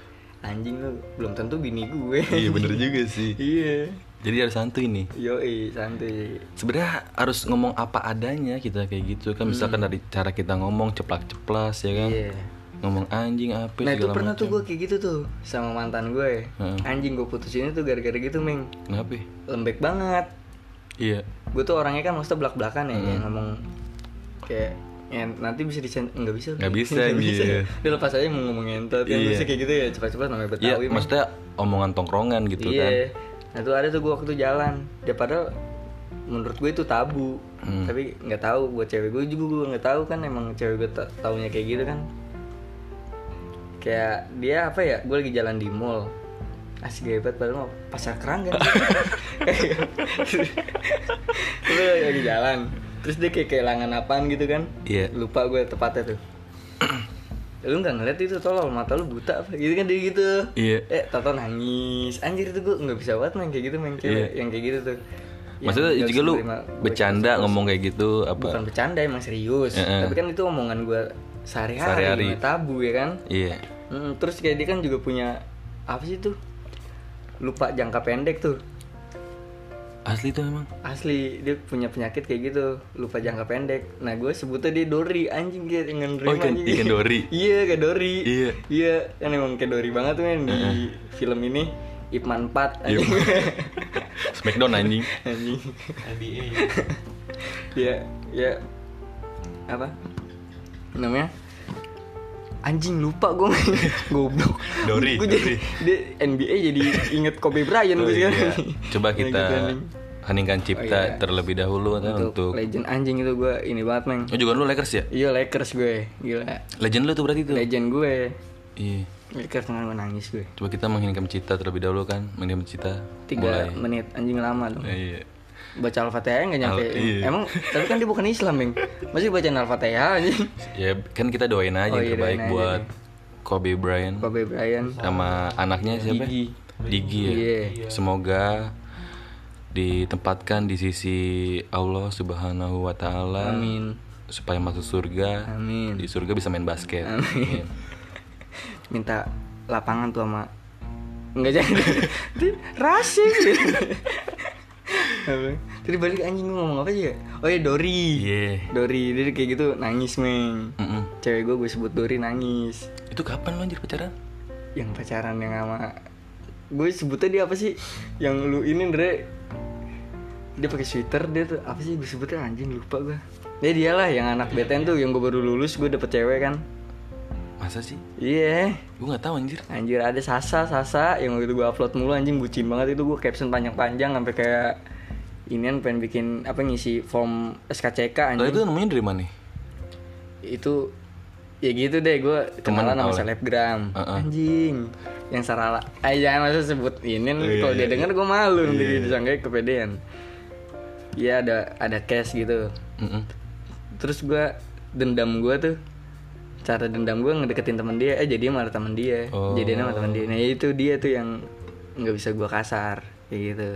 S2: anjing lu belum tentu bini gue
S1: iya bener juga sih
S2: iya
S1: jadi harus santuy nih
S2: yoi santai
S1: sebenarnya harus ngomong apa adanya kita kayak gitu kan misalkan dari cara kita ngomong ceplak-ceplas ya kan
S2: Hmm. Iya.
S1: ngomong anjing apa
S2: Nah itu
S1: segala
S2: pernah tuh
S1: macam.
S2: gue kayak gitu tuh sama mantan gue.
S1: Heeh.
S2: Anjing gue putusinnya tuh gara-gara gitu, Ming.
S1: kenapa ya?
S2: Lembek banget.
S1: iya
S2: Gue tuh orangnya kan maksudnya belak-belakan ya,
S1: Hmm.
S2: yang ngomong kayak ya, nanti bisa disen nggak bisa
S1: Nggak bisa,
S2: Nggak
S1: iya.
S2: dia lepas aja mau ngomong entot kan
S1: Iya.
S2: Terus kayak gitu ya cepat-cepat namanya
S1: iya
S2: betawi Ming.
S1: maksudnya omongan tongkrongan gitu
S2: iya
S1: kan
S2: nah tuh ada tuh gue waktu jalan ya padahal menurut gue itu tabu
S1: Hmm.
S2: tapi nggak tahu buat cewek gue juga gue nggak tahu kan emang cewek gue ta- taunya kayak gitu kan kayak dia apa ya gue lagi jalan di mall asik hebat padahal mau pasar keranggan lu lagi jalan terus dia kayak kehilangan apaan gitu kan
S1: Iya.
S2: lupa gue tepatnya tuh lu nggak ngeliat itu tolol mata lu buta apa gitu kan dia gitu
S1: Iya.
S2: eh tato nangis anjir itu gue nggak bisa banget main kayak gitu main cewek
S1: Iya.
S2: yang kayak gitu tuh Yang
S1: maksudnya
S2: nggak
S1: juga
S2: bisa
S1: lu
S2: nerima-
S1: bercanda ngomong kayak gitu apa
S2: bukan bercanda emang serius
S1: Heeh.
S2: tapi kan itu omongan gue sehari-hari,
S1: Sehari-hari.
S2: nggak tabu ya kan
S1: iya
S2: Mm, terus kayak dia kan juga punya apa sih tuh lupa jangka pendek tuh
S1: asli tuh emang
S2: asli dia punya penyakit kayak gitu lupa jangka pendek nah gue sebutnya dia Dori anjing dia dengan
S1: Oh, ikan- ikan Dory.
S2: iya kayak Dori
S1: Iya.
S2: iya kan emang kayak Dori banget tuh men, di film ini Ipman 4
S1: Iya.
S2: anjing
S1: smackdown anjing
S2: anjing
S3: NBA
S2: ya ya apa namanya anjing lupa gue goblok
S1: Dory,
S2: Gua jadi, dia NBA jadi inget Kobe Bryant gue
S1: Iya.
S2: sekarang
S1: coba
S2: Kayak
S1: kita
S2: gitu, anjing.
S1: heningkan
S2: Oh,
S1: cipta
S2: iya.
S1: terlebih dahulu kan
S2: untuk
S1: untuk
S2: legend anjing itu gue ini banget meng
S1: oh juga lu Lakers ya
S2: Iya Lakers gue, gila.
S1: legend lu tuh berarti tuh
S2: Legend gue.
S1: iya
S2: Lakers dengan gue nangis gue.
S1: coba kita mengheningkan cipta terlebih dahulu kan mengheningkan cipta
S2: Tiga
S1: mulai
S2: menit anjing lama dong.
S1: Nah, iya
S2: Baca Al-Fatihah nggak nyampe.
S1: Al- iya.
S2: Emang tapi kan dia bukan Islam, Ming. Masih baca Al-Fatihah anjing.
S1: ya kan kita doain aja
S2: Oh,
S1: yang
S2: iya,
S1: terbaik
S2: doain aja
S1: buat Kobe Bryant
S2: Kobe Bryant.
S1: sama anaknya siapa
S2: Gigi.
S1: Gigi ya
S2: Iya.
S1: semoga ditempatkan di sisi Allah Subhanahu wa taala
S2: Amin.
S1: supaya masuk surga
S2: Amin.
S1: di surga bisa main basket Amin.
S2: Minta lapangan tuh sama Enggak jadi. Dia Rasis. Apa? Tadi balik anjing gue ngomong apa sih ya? Oh iya Dori.
S1: Iya.
S2: Dori dia kayak gitu nangis, Meng.
S1: Mm-mm.
S2: Cewek gue gue sebut Dori nangis.
S1: itu kapan lo anjir pacaran
S2: yang pacaran yang sama gue sebutnya dia apa sih yang lu ini Ndre dia pakai sweater dia tuh apa sih gue sebutnya anjing lupa gue dia dialah yang anak beten tuh yang gue baru lulus gue dapet cewek kan
S1: masa sih
S2: iya
S1: gue nggak tahu anjir
S2: anjir ada Sasa Sasa yang waktu itu gue upload mulu anjing bucin banget itu gue caption panjang-panjang sampai kayak inian pengen bikin apa ngisi form SKCK
S1: Lah
S2: anjing
S1: Oh, itu namanya dari mana
S2: itu ya gitu deh gue
S1: Temen
S2: kenalan sama
S1: awalnya.
S2: selebgram
S1: Heeh.
S2: anjing yang sarala eh jangan masa sebut ini
S1: Oh, iya,
S2: nanti kalau dia denger gue malu nanti disangkanya kepedean ya ada ada cash gitu
S1: Mm-mm.
S2: terus gue dendam gue tuh cara dendam gue ngedeketin temen dia eh jadi malah temen dia
S1: Oh.
S2: jadi sama temen dia nah itu dia tuh yang nggak bisa gue kasar kayak gitu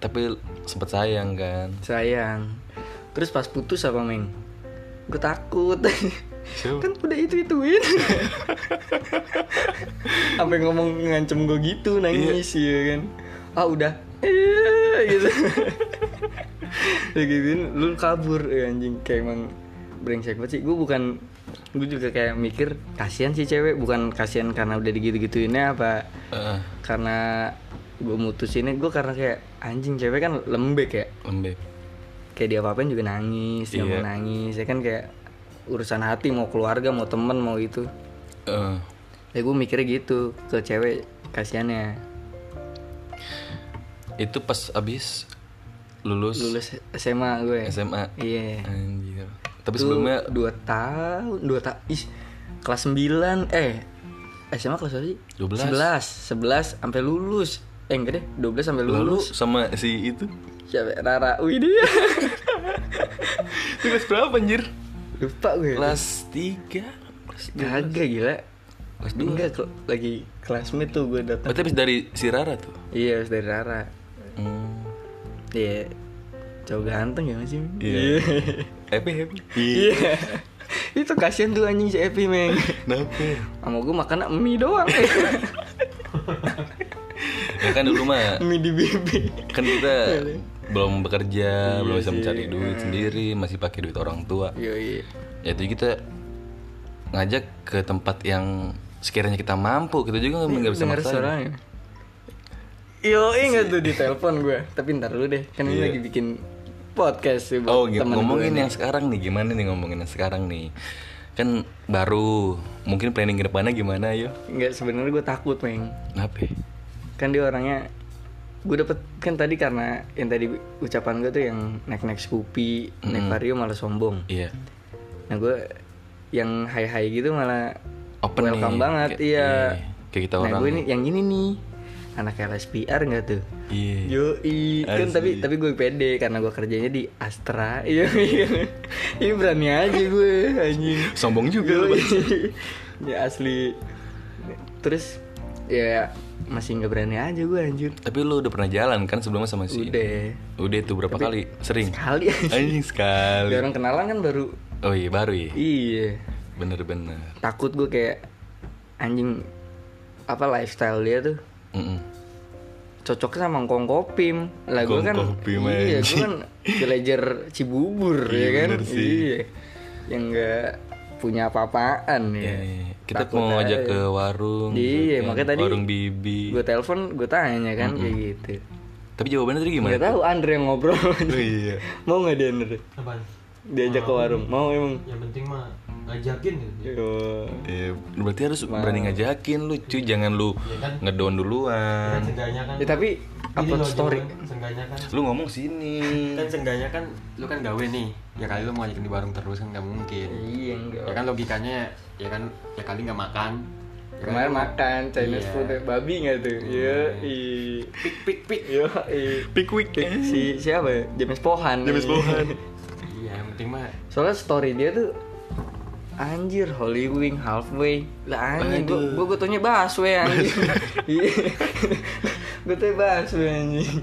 S1: tapi sempet sayang kan
S2: sayang terus pas putus apa meng gue takut
S1: Siapa?
S2: kan udah itu ituin sampai ngomong ngancem gue gitu nangis ya kan ah udah eh gitu ya gituin lu kabur ya anjing kayak emang brengsek banget sih gue bukan gue juga kayak mikir kasihan sih cewek bukan kasihan karena udah digitu gituinnya apa
S1: Heeh,
S2: karena gue mutusinnya gue karena kayak anjing cewek kan lembek ya
S1: lembek
S2: kayak dia apa-apain juga nangis dia mau
S1: Iya.
S2: nangis ya kan kayak urusan hati mau keluarga mau temen mau itu
S1: Heeh.
S2: ya gue mikirnya gitu ke cewek kasihannya
S1: itu pas abis lulus,
S2: lulus SMA gue
S1: SMA
S2: ya. iya
S1: anjir Tapi sebelumnya
S2: dua tahun dua ta ih kelas 9 eh SMA kelas berapa sih?
S1: 12.
S2: 11 11 sampai lulus. Eh enggak deh, 12 sampai
S1: lalu
S2: lulus.
S1: sama si itu
S2: Siapa Rara Widi?
S1: Itu kelas berapa anjir?
S2: Lupa gue.
S1: Kelas 3
S2: Kagak gila.
S1: Kelas dua.
S2: Enggak kel- lagi classmate tuh gue datang.
S1: Berarti habis dari si Rara tuh
S2: Iya, harus dari Rara.
S1: Hmm.
S2: Iya. Cowok ganteng ya masih.
S1: Iya. Happy happy
S2: Iya. Itu kasihan tuh anjing si Epi, Meng.
S1: Kenapa?
S2: Sama gue makan mie doang.
S1: Ya kan dulu mah
S2: mie di bibi.
S1: Kan kita belum bekerja Belum bisa mencari duit sendiri Masih pakai duit orang tua
S2: Yo iya.
S1: Yaitu kita Ngajak ke tempat yang Sekiranya kita mampu Kita juga nggak bisa
S2: Dengar
S1: maksain
S2: suaranya. Yo ingat tuh di telepon gue. Tapi ntar dulu deh, kan ini lagi bikin podcast sih buat
S1: Iya. Oh, gitu.
S2: temen
S1: ngomongin
S2: gue
S1: yang sekarang nih gimana nih ngomongin yang sekarang nih? Kan baru mungkin planning ke depannya gimana yo?
S2: Enggak sebenarnya gue takut, Meng.
S1: Kenapa?
S2: kan dia orangnya gue dapet kan tadi karena yang tadi ucapan gue tuh yang naik naik Scoopy naik Vario malah sombong
S1: Iya.
S2: nah gue yang high high gitu malah
S1: Open
S2: welcome
S1: nih.
S2: banget
S1: Kayak-
S2: iya
S1: Kayak kita
S2: nah
S1: orang.
S2: gue ini yang ini nih anak LSPR nggak tuh
S1: Iya.
S2: Yoi, kan
S1: Asli.
S2: tapi tapi gue pede karena gue kerjanya di Astra. Iya, iya. ini berani aja gue anjing.
S1: Sombong juga lu,
S2: Yoi. ya asli. Terus ya masih nggak berani aja gue anjir.
S1: Tapi lu udah pernah jalan kan sebelumnya sama si?
S2: Udah.
S1: Udah tuh berapa kali? Sering.
S2: Sekali anjing.
S1: Anjing sekali.
S2: Ada orang kenalan kan baru.
S1: Oh iya baru ya.
S2: Iya.
S1: Bener-bener.
S2: Takut gue kayak anjing apa lifestyle dia tuh
S1: Mm-mm.
S2: cocoknya sama Kong Kopim lah gue kan
S1: Ngkong Kopim,
S2: iya gue
S1: anjing.
S2: kan villager Cibubur
S1: Iya,
S2: ya kan
S1: bener sih.
S2: iya yang nggak punya apa-apaan ya
S1: Iya, iya. Kita mau ngajak ke warung.
S2: Iya,
S1: kan.
S2: makanya tadi
S1: warung bibi.
S2: gue telepon gue tanya kan kayak gitu
S1: Tapi jawabannya tadi gimana?
S2: nggak tahu Andre yang ngobrol
S1: Oh iya.
S2: mau nggak dia Andre
S4: Apaan?
S2: diajak ke warung mau emang
S4: Yang penting mah ngajakin gitu.
S2: Yo.
S1: Iya, berarti harus berani ngajakin lu cuy, jangan lu
S2: Iya
S1: ngedown
S4: Kan
S1: duluan.
S4: sengganya kan.
S2: Ya, tapi
S4: Gini
S2: upload
S4: loh,
S2: story
S4: jawaban, Sengganya kan.
S1: Lu ngomong sini.
S2: Iya
S4: Kan sengganya kan lu kan gawe nih. Ya kali lu mau ngajakin di warung terus kan nggak mungkin.
S2: Iya
S4: Ya kan logikanya ya kan ya kali nggak makan. Ya kan,
S2: Kemarin makan Chinese
S4: Iya.
S2: food babi nggak tuh? Iya, i.
S4: Pik pik pik.
S2: Yo, i.
S1: Pickwick.
S2: Si siapa? ya? James Pohan.
S1: James Bohan.
S4: Iya yang penting mah.
S2: Soalnya story dia tuh anjir Holy Wing halfway lah anjir gua
S1: Aduh.
S2: gua gua taunya busway anjir Iya. gua taunya busway anjing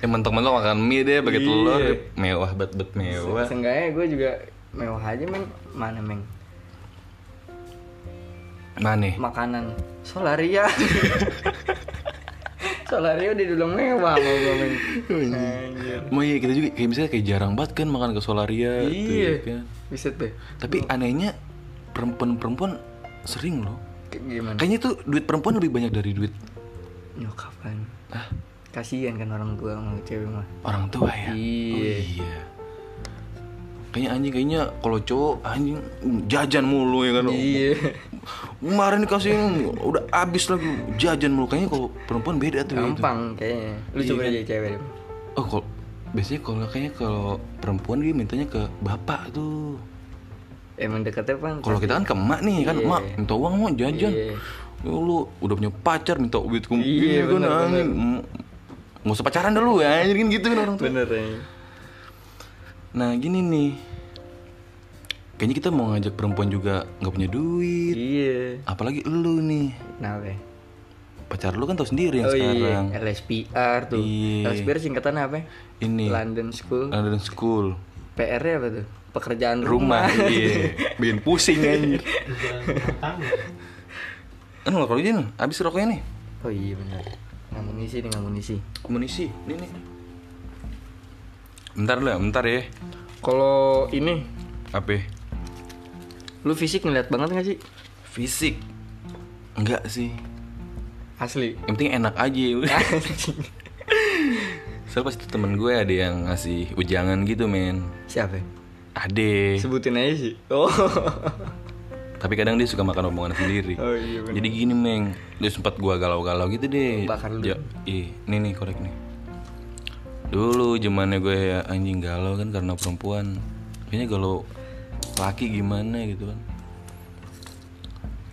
S1: Ya mentok-mentok makan mie deh pakai
S2: Iya.
S1: telur mewah bet bet mewah.
S2: seenggaknya gua juga mewah aja men mana men
S1: Mana?
S2: makanan solaria solaria udah dulu mewah sama gua men anjir
S1: Mau iya kita juga kayak misalnya kayak jarang banget kan makan ke Solaria gitu
S2: Iya.
S1: ya kan.
S2: bisa tuh
S1: Tapi anehnya perempuan-perempuan sering loh.
S2: Kayak gimana
S1: Kayaknya tuh duit perempuan lebih banyak dari duit
S2: nyokapan
S1: Hah?
S2: kan. kasihan kan orang tua sama cewek mah
S1: orang tua ya. Oh,
S2: Iya.
S1: iya. Kayaknya anjing kayaknya kalau cowok anjing jajan mulu ya kan.
S2: iya
S1: Kemarin dikasihin udah habis lagi jajan mulu kayaknya kalau perempuan beda tuh. ya itu. Iya kan?
S2: gampang kayaknya lu coba aja cewek deh.
S1: Oh, kalau biasanya kalau kayaknya kalau perempuan dia mintanya ke bapak tuh.
S2: emang deketnya kan
S1: Kalau kita kan ke emak nih kan, emak minta uang mau jajan.
S2: Iya.
S1: Ya lu udah punya pacar minta duit kum.
S2: Iya,
S1: kan
S2: bener,
S1: anjing. Mm, Nggak usah pacaran dulu ya, anjing kan gitu kan orang tua.
S2: bener ya
S1: Nah, gini nih. Kayaknya kita mau ngajak perempuan juga nggak punya duit.
S2: iya
S1: Apalagi lu nih.
S2: nah oke
S1: Pacar lu kan tau sendiri yang
S2: oh iya
S1: sekarang.
S2: LSPR tuh
S1: Iya. Eh.
S2: LSPR singkatannya apa ya?
S1: Ini
S2: London School
S1: London School.
S2: PR nya apa tuh pekerjaan rumah,
S1: Rumah, iya. Bikin pusing anjir. Kan nggak kalau ini, habis rokoknya nih.
S2: oh iya bener nggak mau ngisi nih nggak mau ngisi
S1: Munisi, ini nih. Bentar dulu ya, bentar ya.
S2: kalau ini
S1: Apa?
S2: lu fisik ngeliat banget gak sih
S1: Fisik. Enggak sih.
S2: asli
S1: Yang penting enak aja. Soalnya pas itu temen gue ada yang ngasih ujangan gitu men
S2: siapa ya?
S1: Ade
S2: sebutin aja sih oh
S1: Tapi kadang dia suka makan omongan sendiri
S2: Oh, iya, bener.
S1: Jadi gini meng Dia sempat gue galau-galau gitu deh
S2: Bakar dulu.
S1: Ja- Ih, ini nih korek nih Dulu zamannya gue ya anjing galau kan karena perempuan. Kayaknya galau laki gimana gitu kan.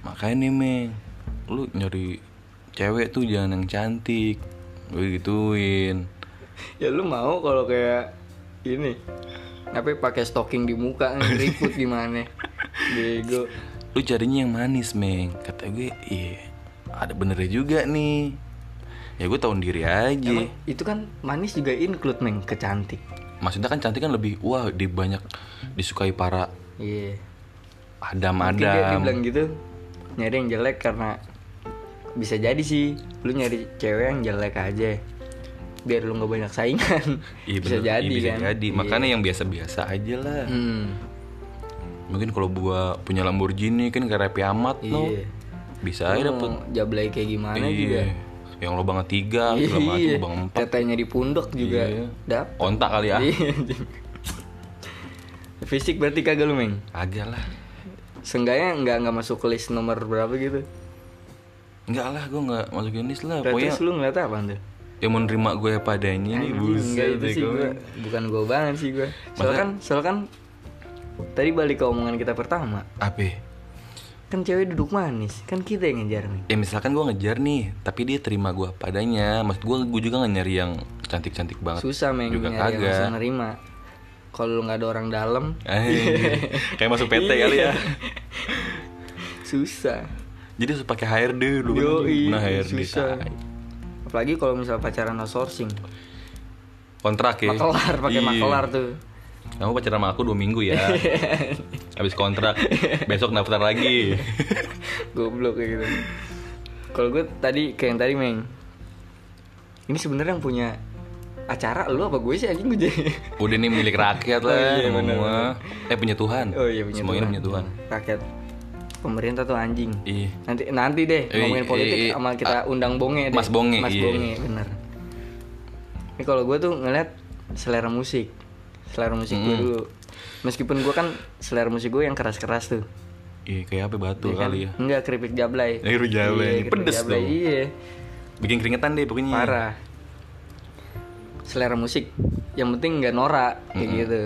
S1: Makanya nih, Meng, lu nyari cewek tuh jangan yang cantik. Gue gituin.
S2: ya lu mau kalau kayak ini tapi pakai stocking di muka ribut gimana bego
S1: Lu carinya yang manis, Meng. Kata gue, iya. Ada benernya juga nih. Ya gue tahun diri aja.
S2: Emang itu kan manis juga include meng ke cantik
S1: Maksudnya kan cantik kan lebih wah di banyak disukai para
S2: iya Mungkin dia dibilang
S1: adam-adam.
S2: gitu nyari yang jelek karena bisa jadi sih lu nyari cewek yang jelek aja biar lu nggak banyak saingan
S1: Iya,
S2: bisa
S1: bener. Iya,
S2: jadi
S1: bisa
S2: kan
S1: jadi.
S2: Iya.
S1: Makanya yang biasa-biasa aja lah.
S2: hmm.
S1: Mungkin kalau gua punya Lamborghini kan kayak Raffi Ahmad no.
S2: Iya.
S1: Bisa aja
S2: Lu
S1: dapet.
S2: mau jablay kayak gimana juga Iya.
S1: Iya. Yang lubang tiga, segala macam lubang empat.
S2: tetenya di pundak juga
S1: Iya.
S2: dap
S1: Ontak kali ya.
S2: Iya, anjing. fisik berarti kagak lu meng
S1: Agak lah.
S2: Seenggaknya nggak nggak masuk ke list nomor berapa gitu
S1: Enggak lah, gua nggak masukin list lah. Pokoknya
S2: terus lu ngeliat apa tuh
S1: yang menerima gue padanya ini
S2: Enggak
S1: buset
S2: itu
S1: deh
S2: sih
S1: gue.
S2: gua, bukan gue banget sih gue. Soalnya kan, soalnya kan tadi balik ke omongan kita pertama,
S1: Apa?
S2: kan cewek duduk manis, kan kita yang ngejar nih.
S1: Ya misalkan gua ngejar nih, tapi dia terima gua padanya. Maksud gua gua juga nggak nyari yang cantik-cantik banget.
S2: Susah
S1: Nah,
S2: men
S1: Juga
S2: nyari yang bisa
S1: kagak.
S2: nerima. Kalau lu nggak ada orang dalam,
S1: Anjing. Kayak masuk
S2: Iya.
S1: PT kali ya.
S2: susah.
S1: Jadi harus pakai HRD dulu.
S2: Yoi,
S1: Nah, HRD.
S2: susah.
S1: tai.
S2: Apalagi kalau misal pacaran outsourcing,
S1: Kontrak ya.
S2: makelar pakai
S1: Iya.
S2: makelar tuh.
S1: Kamu pacaran sama aku dua minggu ya. Habis kontrak, besok daftar lagi.
S2: Goblok kayak gitu. Kalau gue tadi kayak yang tadi meng. Ini sebenarnya yang punya acara lu apa gue sih anjing gue jadi.
S1: Udah nih milik rakyat lah semua. Eh punya Tuhan.
S2: Iya, Oh iya punya
S1: Semua ini
S2: Tuhan.
S1: punya Tuhan.
S2: Rakyat pemerintah tuh anjing.
S1: Iya.
S2: Nanti nanti deh
S1: Eh,
S2: ngomongin
S1: eh,
S2: politik
S1: eh,
S2: sama kita undang Bonge deh.
S1: Mas Bonge,
S2: Mas
S1: iya.
S2: Bonge bener. Ini kalau gue tuh ngeliat selera musik, selera musik gue
S1: Mm.
S2: dulu. Meskipun gue kan selera musik gue yang keras-keras tuh.
S1: Iya, kayak apa batu
S2: Iya kan?
S1: kali ya.
S2: Enggak keripik jablay.
S1: Eh, keripik jablay.
S2: Iya, keripik
S1: Pedes
S2: jablay,
S1: dong.
S2: Iya.
S1: Bikin keringetan deh pokoknya.
S2: Parah. Selera musik yang penting nggak norak kayak gitu.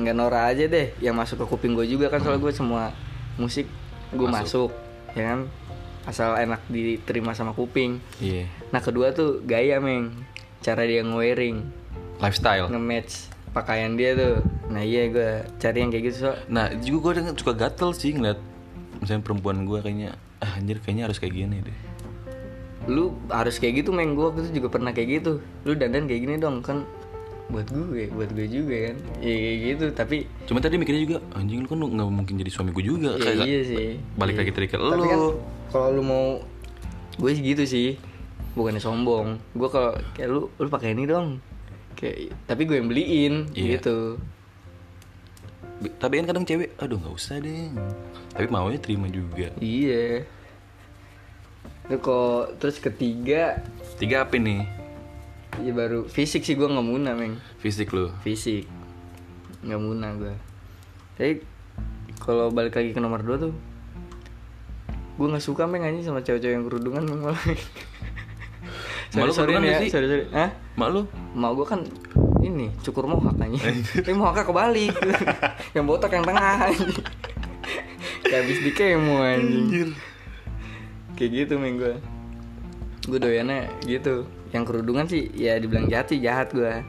S2: Nggak norak aja deh yang masuk ke kuping gue juga kan soalnya gue semua musik gue masuk. ya kan asal enak diterima sama kuping.
S1: Iya.
S2: Nah, kedua tuh gaya, Meng. Cara dia nge-wearing,
S1: Lifestyle.
S2: nge-match pakaian dia tuh. Nah, iya gue cari yang kayak gitu, so.
S1: Nah, juga gue suka gatel sih ngeliat misalnya perempuan gue kayaknya ah anjir kayaknya harus kayak gini deh.
S2: Lu harus kayak gitu, Meng. Gue waktu itu juga pernah kayak gitu. Lu dandan kayak gini dong, kan buat gue, buat gue juga kan. Iya kayak gitu, tapi
S1: Cuma tadi mikirnya juga anjing lu kan nggak mungkin jadi suami gue juga
S2: Iya,
S1: kayak
S2: iya sih.
S1: balik
S2: Iya.
S1: lagi tadi ke
S2: Tapi
S1: lu.
S2: kan kalau lu mau gue sih gitu sih. Bukannya sombong. Gue kalau kayak lu lu pakai ini dong. Kayak tapi gue yang beliin
S1: Iya.
S2: gitu.
S1: B- Tapi kan kadang cewek aduh nggak usah deh. Tapi maunya terima juga.
S2: Iya. Itu kok terus ketiga
S1: Tiga apa nih?
S2: ya baru fisik sih gue nggak muna meng
S1: Fisik lu.
S2: fisik nggak muna gue tapi kalau balik lagi ke nomor dua tuh gue nggak suka meng anjing sama cewek-cewek yang kerudungan Meng, malah sorry
S1: Malu
S2: sorry
S1: kerudungan
S2: nih ya
S1: nggak sih?
S2: sorry sorry Hah?
S1: Mak lu?
S2: mau gue kan ini cukur mohak anjing tapi mohaknya kebalik yang botak yang tengah anjing kayak habis dikemo anjing kayak gitu ming gue gue doyannya gitu yang kerudungan sih ya dibilang jahat sih jahat gue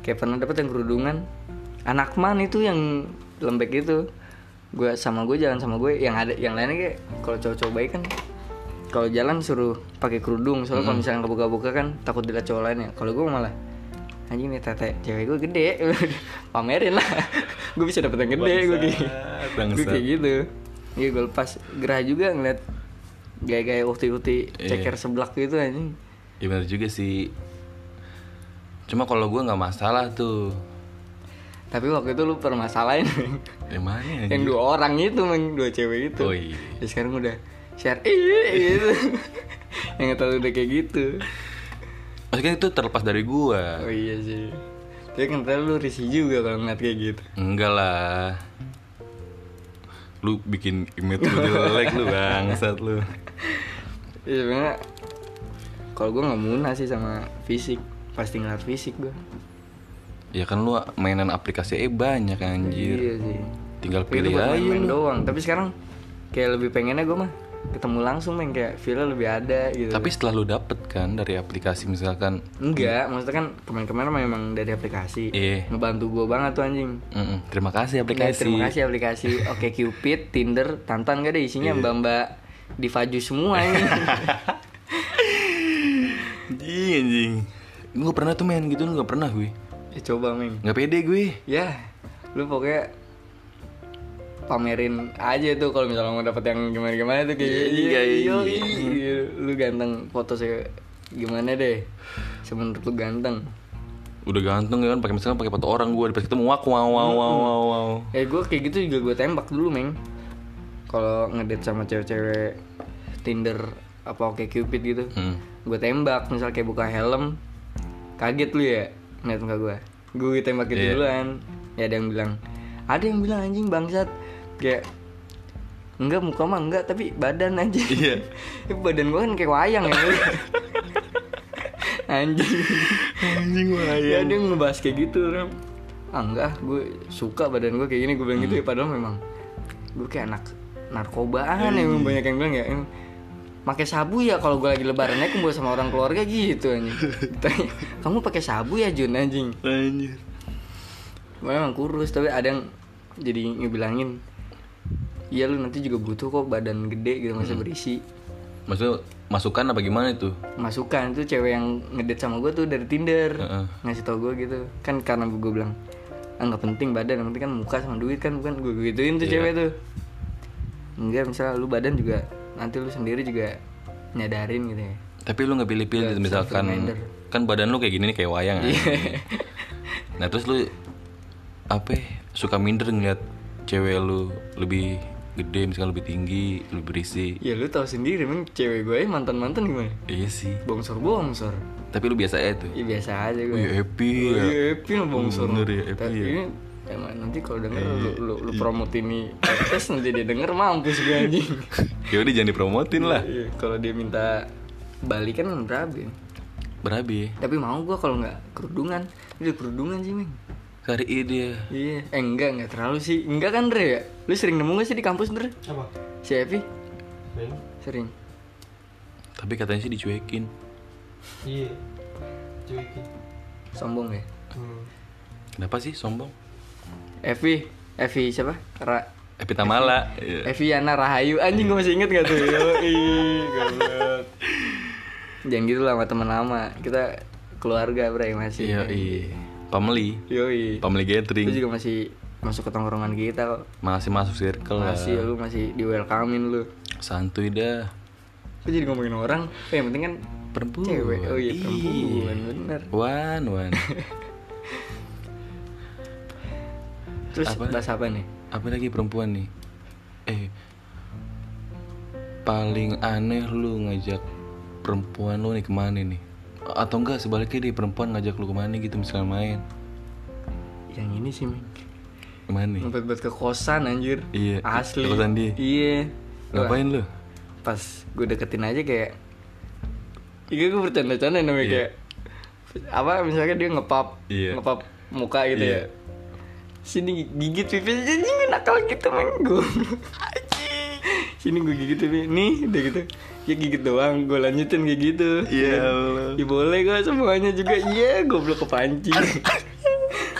S2: kayak pernah dapet yang kerudungan anak man itu yang lembek gitu gue sama gue jalan sama gue yang ada yang lainnya kayak kalau cowok-cowok baik kan kalau jalan suruh pakai kerudung soalnya kalau misalnya kebuka-buka kan takut dilihat cowok lain ya kalau gue malah anjing nih tete cewek gue gede pamerin lah gue bisa dapet yang gede gue kayak gue
S1: bangsat.
S2: kayak gitu iya gue lepas gerah juga ngeliat gaya-gaya ukti-ukti
S1: Iya.
S2: ceker seblak gitu anjing
S1: Ya bener juga sih. Cuma kalau gue nggak masalah tuh.
S2: tapi waktu itu lu permasalahin
S1: Yang mana? ya, anjing?
S2: yang dua orang itu men dua cewek itu
S1: Oh iya.
S2: ya sekarang udah share "Ih," gitu yang tahu udah kayak gitu
S1: Maksudnya itu terlepas dari gue.
S2: oh iya sih tapi kan ntar lu risih juga kalau ngeliat kayak gitu
S1: Enggak lah Lu bikin image lu jelek lu bangsat lu
S2: Iya, ya sebenarnya kalau gue nggak muna sih sama fisik pasti ngeliat fisik gue
S1: Ya kan lu mainan aplikasi eh banyak anjir.
S2: iya sih
S1: Tinggal
S2: Tapi itu
S1: pilih
S2: buat
S1: aja iya
S2: main-main
S1: lu.
S2: doang tapi sekarang kayak lebih pengennya gue mah ketemu langsung main kayak feel lebih ada gitu
S1: Tapi setelah lu dapet kan dari aplikasi misalkan
S2: enggak maksudnya kan kemarin-kemarin memang dari aplikasi
S1: Iya.
S2: ngebantu gue banget tuh anjing
S1: "Mm-mm, terima kasih
S2: Ya,
S1: aplikasi.
S2: terima kasih aplikasi Oke Cupid, Tinder, Tantan gak ada isinya
S1: Iya.
S2: mbak-mbak di Faju semua ini.
S1: Anjing anjing. Gue pernah tuh main gitu lu gak pernah gue.
S2: ya, coba Ming.
S1: Gak pede gue.
S2: Ya, lu pokoknya pamerin aja tuh kalau misalnya mau dapet yang gimana-gimana tuh kayak iya, iya, iya. lu ganteng foto saya gimana deh. Semenurut lu ganteng.
S1: Udah ganteng ya kan pakai misalkan pakai foto orang gue di pas ketemu wak wow wow wow wow. wow.
S2: Eh gue kayak gitu juga gue tembak dulu meng Kalau ngedate sama cewek-cewek Tinder apa Oke Cupid gitu
S1: Hmm.
S2: Gue tembak misal kayak buka helm Kaget lu ya ngeliat muka gue Gue tembak gitu duluan Ya ada yang bilang Ada yang bilang anjing bangsat Kayak Enggak muka mah enggak tapi badan anjing Iya Badan gue kan kayak wayang ya Anjing
S1: Anjing
S2: Ya dia ngebahas kayak gitu Ram. Ah enggak, gue suka badan gue kayak gini Gue bilang gitu ya padahal memang Gue kayak anak narkobaan ya memang banyak yang bilang ya em, Pakai sabu ya kalau gue lagi lebaran ya kumpul sama orang keluarga gitu anjing Ditanya, Kamu pakai sabu ya Jun anjing
S1: Anjir.
S2: Gue Memang kurus tapi ada yang jadi ngebilangin Iya lu nanti juga butuh kok badan gede gitu masa berisi
S1: Maksudnya masukan apa gimana itu?
S2: masukan tuh cewek yang ngedate sama gue tuh dari Tinder
S1: Heeh.
S2: ngasih tau gue gitu kan karena gue bilang ah nggak penting badan yang penting kan muka sama duit kan bukan gue
S1: Iya.
S2: gituin tuh cewek tuh enggak misalnya lu badan juga nanti lu sendiri juga nyadarin gitu ya
S1: Tapi lu nggak
S2: Iya,
S1: pilih-pilih misalkan kan badan lu kayak gini nih kayak wayang. anjing. Nah terus lu apa? ya, Suka minder ngeliat cewek lu lebih gede misalkan lebih tinggi lebih berisi.
S2: ya lu tahu sendiri emang cewek gue mantan mantan gimana
S1: Iya sih.
S2: bongsor bongsor
S1: Tapi lu biasa aja tuh.
S2: ya biasa aja gue
S1: Wih happy ya.
S2: Iya, happy lah bongsor.
S1: Bener ya, happy
S2: Tapi
S1: ya. Iya,
S2: ini emang nanti kalau denger lu, lu, lu promote ini podcast nanti dia denger mampus gue anjing.
S1: Ya udah jangan dipromotin lah.
S2: Iya, kalau dia minta balikan kan berapa ya?
S1: Berabi.
S2: Tapi mau gua kalau nggak kerudungan, itu kerudungan sih Ming.
S1: Kali ini dia.
S2: Iya, eh enggak enggak terlalu sih, enggak kan Dre ya? Lu sering nemu gak sih di kampus Dre?
S4: Apa?
S2: Si Evi sering.
S1: Tapi katanya sih dicuekin.
S4: Iya. Cuekin.
S2: Sombong ya.
S4: Hmm.
S1: Kenapa sih sombong?
S2: Evi, Evi siapa? Ra
S1: Epitamala. Iya.
S2: Evi Yana Rahayu anjing gua masih inget gak tuh? Yoi, goblok. Jangan gitu lah sama teman lama. Kita keluarga Bre masih.
S1: Iya, iya. Pameli.
S2: Yoi.
S1: Pameli
S2: Lu
S1: gathering.
S2: juga masih masuk ke tongkrongan kita kok.
S1: Masih masuk circle lah.
S2: Masih lu masih di welcomein lu.
S1: Santuy dah.
S2: Lu jadi ngomongin orang, eh, yang penting kan
S1: Perempuan.
S2: cewek. Oh iya perempuan
S1: Ih.
S2: bener.
S1: Wan, wan.
S2: Terus
S1: Apa?
S2: bahas apa nih?
S1: Apa lagi perempuan nih? Eh. Paling aneh lu ngajak perempuan lu nih kemana nih? A- Atau enggak sebaliknya deh perempuan ngajak lu kemana gitu misalnya main.
S2: Yang ini sih, Ming.
S1: Kemana nih?
S2: Ngumpet-ngumpet ke kosan anjir.
S1: Iya,
S2: Asli.
S1: ke kosan dia.
S2: Iya. Wah,
S1: Ngapain lu?
S2: Pas gue deketin aja kayak Iya gue bercanda-canda namanya kayak apa misalnya dia ngepap
S1: Iya.
S2: ngepap muka gitu
S1: Iya.
S2: ya sini gigit pipi jadi gue nakal gitu main gue sini gue gigit pipi nih udah gitu ya gigit doang gue lanjutin kayak gitu
S1: Iya, Allah.
S2: Ya boleh gue semuanya juga Iya goblok kepancing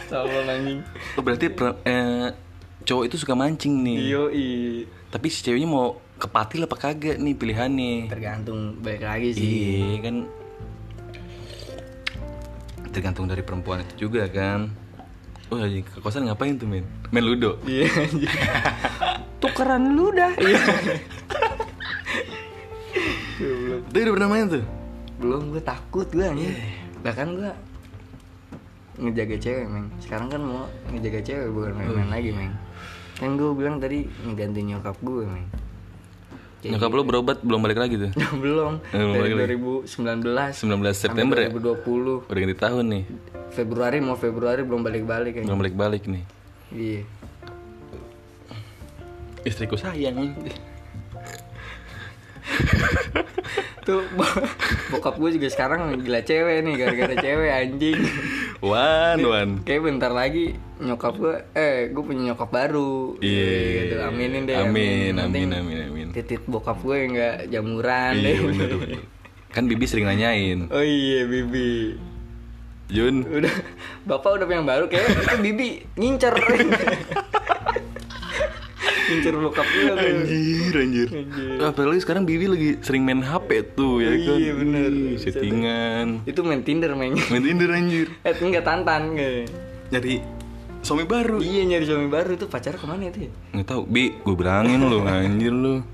S2: Sama anjing
S1: Oh, berarti per- eh, cowok itu suka mancing nih.
S2: Iya. Yoi
S1: Tapi si ceweknya mau kepatil apa kagak nih pilihannya?
S2: Tergantung balik lagi sih
S1: Iya kan tergantung dari perempuan itu juga kan. Oh, anjing, ke kosan ngapain tuh, men? Main ludo.
S2: Iya anjing Tukeran lu dah Iya. Goblok.
S1: Dia udah pernah main tuh.
S2: Belum gue takut gue anjing Bahkan gue ngejaga cewek meng sekarang kan mau ngejaga cewek bukan main-main lagi meng kan gue bilang tadi ngeganti nyokap gue meng Kayak
S1: Nyokap lu berobat belum balik lagi tuh.
S2: belum
S1: Eh, belum balik
S2: dari
S1: lagi. 19
S2: 2019
S1: September ya?
S2: 2020
S1: Udah ganti tahun nih.
S2: Februari mau Februari belum balik-balik kayaknya.
S1: Belum balik-balik nih.
S2: Iya.
S1: Istriku sayang.
S2: tuh bo- bokap gue juga sekarang gila cewek nih gara-gara cewek anjing
S1: Wan, wan.
S2: kayak bentar lagi nyokap gue eh gue punya nyokap baru
S1: Iya.
S2: gitu aminin deh
S1: Amin, amin,
S2: Yang penting
S1: amin, amin.
S2: titit bokap gue nggak jamuran
S1: Iya,
S2: deh
S1: bener, bener. Kan Bibi sering nanyain.
S2: oh iya bibi
S1: Jun,
S2: udah bapak udah punya yang baru kayak itu bibi ngincer ngincer bokap gue
S1: Anjir, anjir. Ah, Apalagi sekarang Bibi lagi sering main HP tuh ya kan.
S2: Iya, bener.
S1: Ih, Settingan.
S2: itu main tinder mainnya
S1: Main Tinder anjir.
S2: eh enggak tantan enggak
S1: Nyari suami baru.
S2: Iya nyari suami baru itu pacar kemana itu ya?
S1: Nggak tahu, Bi, gue bilangin lu anjir lu.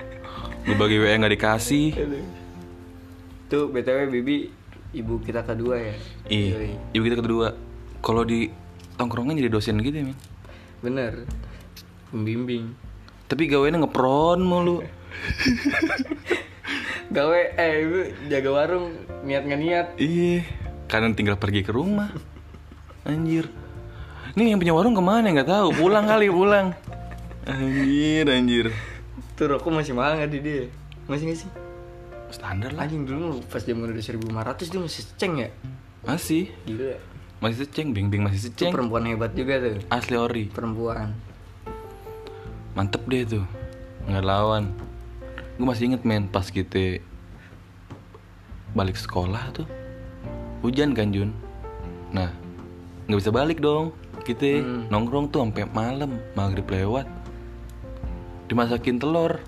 S1: Lu bagi WA nggak dikasih.
S2: Tuh BTW Bibi ibu kita kedua ya. Yoi.
S1: Iya. Ibu kita kedua. Kalau di tongkrongan jadi dosen gitu ya, men.
S2: Bener. Pembimbing.
S1: Tapi gawainnya ngepron mulu.
S2: Gawe eh ibu jaga warung niat nggak niat.
S1: Iya, kadang tinggal pergi ke rumah. Anjir. Nih yang punya warung kemana nggak tahu. Pulang kali pulang. Anjir, anjir.
S2: Tuh rokok masih mahal nggak di dia? Masih nggak sih?
S1: Standar lah.
S2: Anjing dulu pas dia mulai 1500 dia masih ceng ya.
S1: Masih,
S2: Gila.
S1: masih seceng, bing bing masih
S2: Itu
S1: seceng.
S2: perempuan hebat juga tuh.
S1: Asli ori,
S2: Perempuan.
S1: mantep deh tuh. Nggak lawan. Gue masih inget men pas kita balik sekolah tuh hujan kan Jun. Nah, nggak bisa balik dong. Kita
S2: Hmm.
S1: nongkrong tuh sampai malam, maghrib lewat. Dimasakin telur.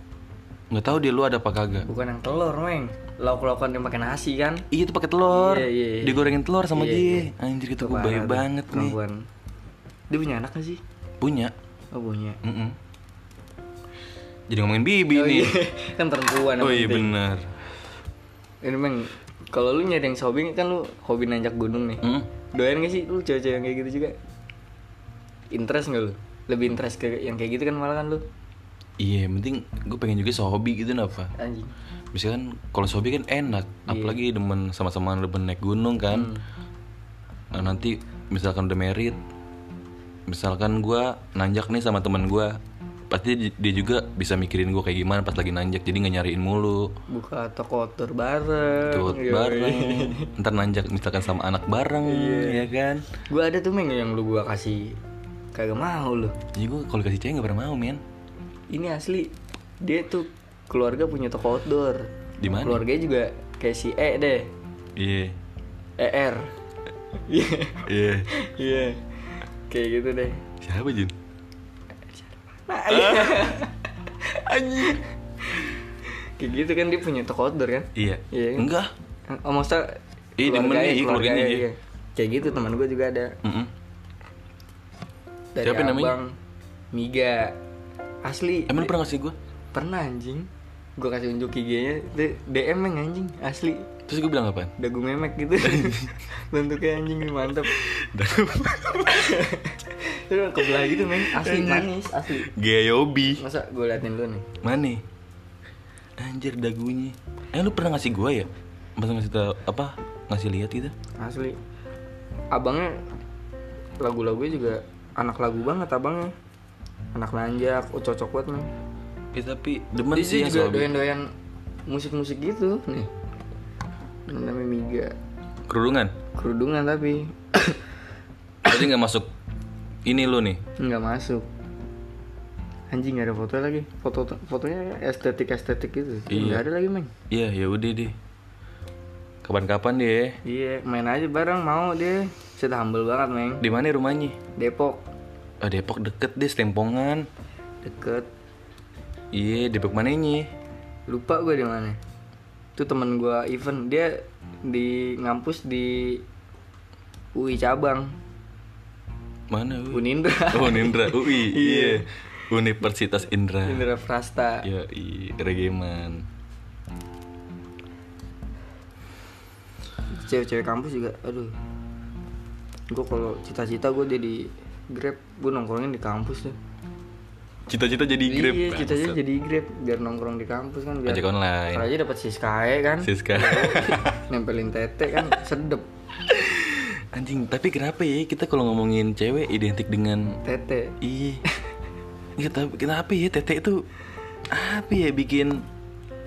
S1: Nggak tahu dia lu ada apa kagak.
S2: Bukan yang telur, Meng. Lauk-laukan yang pakai nasi kan.
S1: Iya tuh pakai telur.
S2: Iya, iya, iya.
S1: Digorengin telur sama
S2: Iya,
S1: dia. Anjir itu gue bayi
S2: Parah tuh,
S1: Gitu, banget nih.
S2: perempuan. Dia punya anak nggak sih?
S1: Punya.
S2: Oh punya.
S1: Mm-mm. Jadi ngomongin bibi
S2: Oh
S1: nih.
S2: iya, kan perempuan yang
S1: Oh iya
S2: penting.
S1: benar.
S2: Ini Bang, kalau lu nyari yang shopping kan lu hobi nanjak gunung nih.
S1: Mm.
S2: Doyan gak sih lu cewek-cewek yang kayak gitu juga? Interest gak lu? Lebih interest ke yang kayak gitu kan malah kan lu
S1: Iya, yang penting gue pengen juga sehobi gitu apa.
S2: anjing.
S1: Misalkan kalau sehobi kan enak,
S2: Iya.
S1: apalagi demen sama-sama demen naik gunung kan.
S2: Hmm.
S1: Nah, nanti misalkan udah merit, misalkan gua nanjak nih sama teman gua, pasti di- dia juga bisa mikirin gua kayak gimana pas lagi nanjak, jadi nggak nyariin mulu.
S2: Buka toko tur bareng. gitu kan.
S1: Ikut
S2: Yoi. iya.
S1: bareng, ntar nanjak misalkan sama anak bareng, ya kan?
S2: Gua ada tuh Meng yang lu gua kasih kagak mau lu.
S1: Jadi gue kalau kasih cewek nggak pernah mau men.
S2: Ini asli dia tuh keluarga punya toko outdoor.
S1: Di mana?
S2: Keluarganya juga kayak si E deh.
S1: Iya,
S2: ER. Iya.
S1: iya.
S2: Iya. Kayak gitu deh.
S1: Siapa Jun?
S2: Anjir. Kayak gitu kan dia punya toko outdoor kan?
S1: Iya.
S2: Iya kan?
S1: Enggak.
S2: Oh maksudnya
S1: Iya,
S2: keluarganya,
S1: temennya, iya,
S2: keluarganya,
S1: keluarganya, iya.
S2: iya. Kayak gitu teman gue juga ada
S1: Mm-mm.
S2: Dari
S1: Siapa namanya?
S2: abang Miga Asli
S1: Emang lu pernah ngasih gue?
S2: Pernah anjing Gue kasih unjuk IG-nya dia DM yang anjing Asli
S1: Terus gue bilang apaan?
S2: Dagu memek gitu Bentuknya anjing nih mantep Terus kebelah gitu men Asli manis asli
S1: Gayobi
S2: Masa gue liatin lu nih
S1: Mana? Anjir dagunya Eh lu pernah ngasih gue ya? Masa ngasih tau apa? Ngasih lihat gitu?
S2: Asli Abangnya Lagu-lagunya juga Anak lagu banget abangnya Anak nanjak oh, Cocok banget men
S1: Ya, tapi demen
S2: Dia
S1: sih
S2: sih
S1: yang
S2: juga
S1: sobi
S2: doyan-doyan Musik-musik gitu Nih Namanya Miga
S1: Kerudungan?
S2: Kerudungan tapi
S1: Jadi gak masuk ini lu nih
S2: nggak masuk Anjing gak ada foto lagi Foto Fotonya estetik-estetik gitu
S1: Iya.
S2: nggak ada lagi men
S1: Iya ya udah deh Kapan-kapan deh
S2: Iya main aja bareng mau deh Sudah humble banget men
S1: Di mana rumahnya?
S2: Depok
S1: Oh, Depok deket deh, Setempongan
S2: Deket
S1: Iya, Depok mananya?
S2: lupa gue di mana itu temen gue event dia di ngampus di UI cabang
S1: Mana? Wi?
S2: Unindra
S1: Oh, Nindra UI. Iya. Universitas Indra.
S2: Unindra Frasta
S1: Ya, i regimen.
S2: cewek-cewek kampus juga aduh gue kalau cita-cita gue jadi grab gue nongkrongin di kampus tuh
S1: Cita-cita jadi Grab.
S2: iya cita-cita
S1: bangsat.
S2: jadi grab biar nongkrong di kampus kan biar
S1: Ojek online.
S2: Ntar aja dapat siskae kan
S1: Siska.
S2: nempelin tete kan sedep
S1: Anjing, tapi kenapa ya kita kalau ngomongin cewek identik dengan
S2: tete
S1: i. Ya, tapi kenapa ya Tete itu apa ya bikin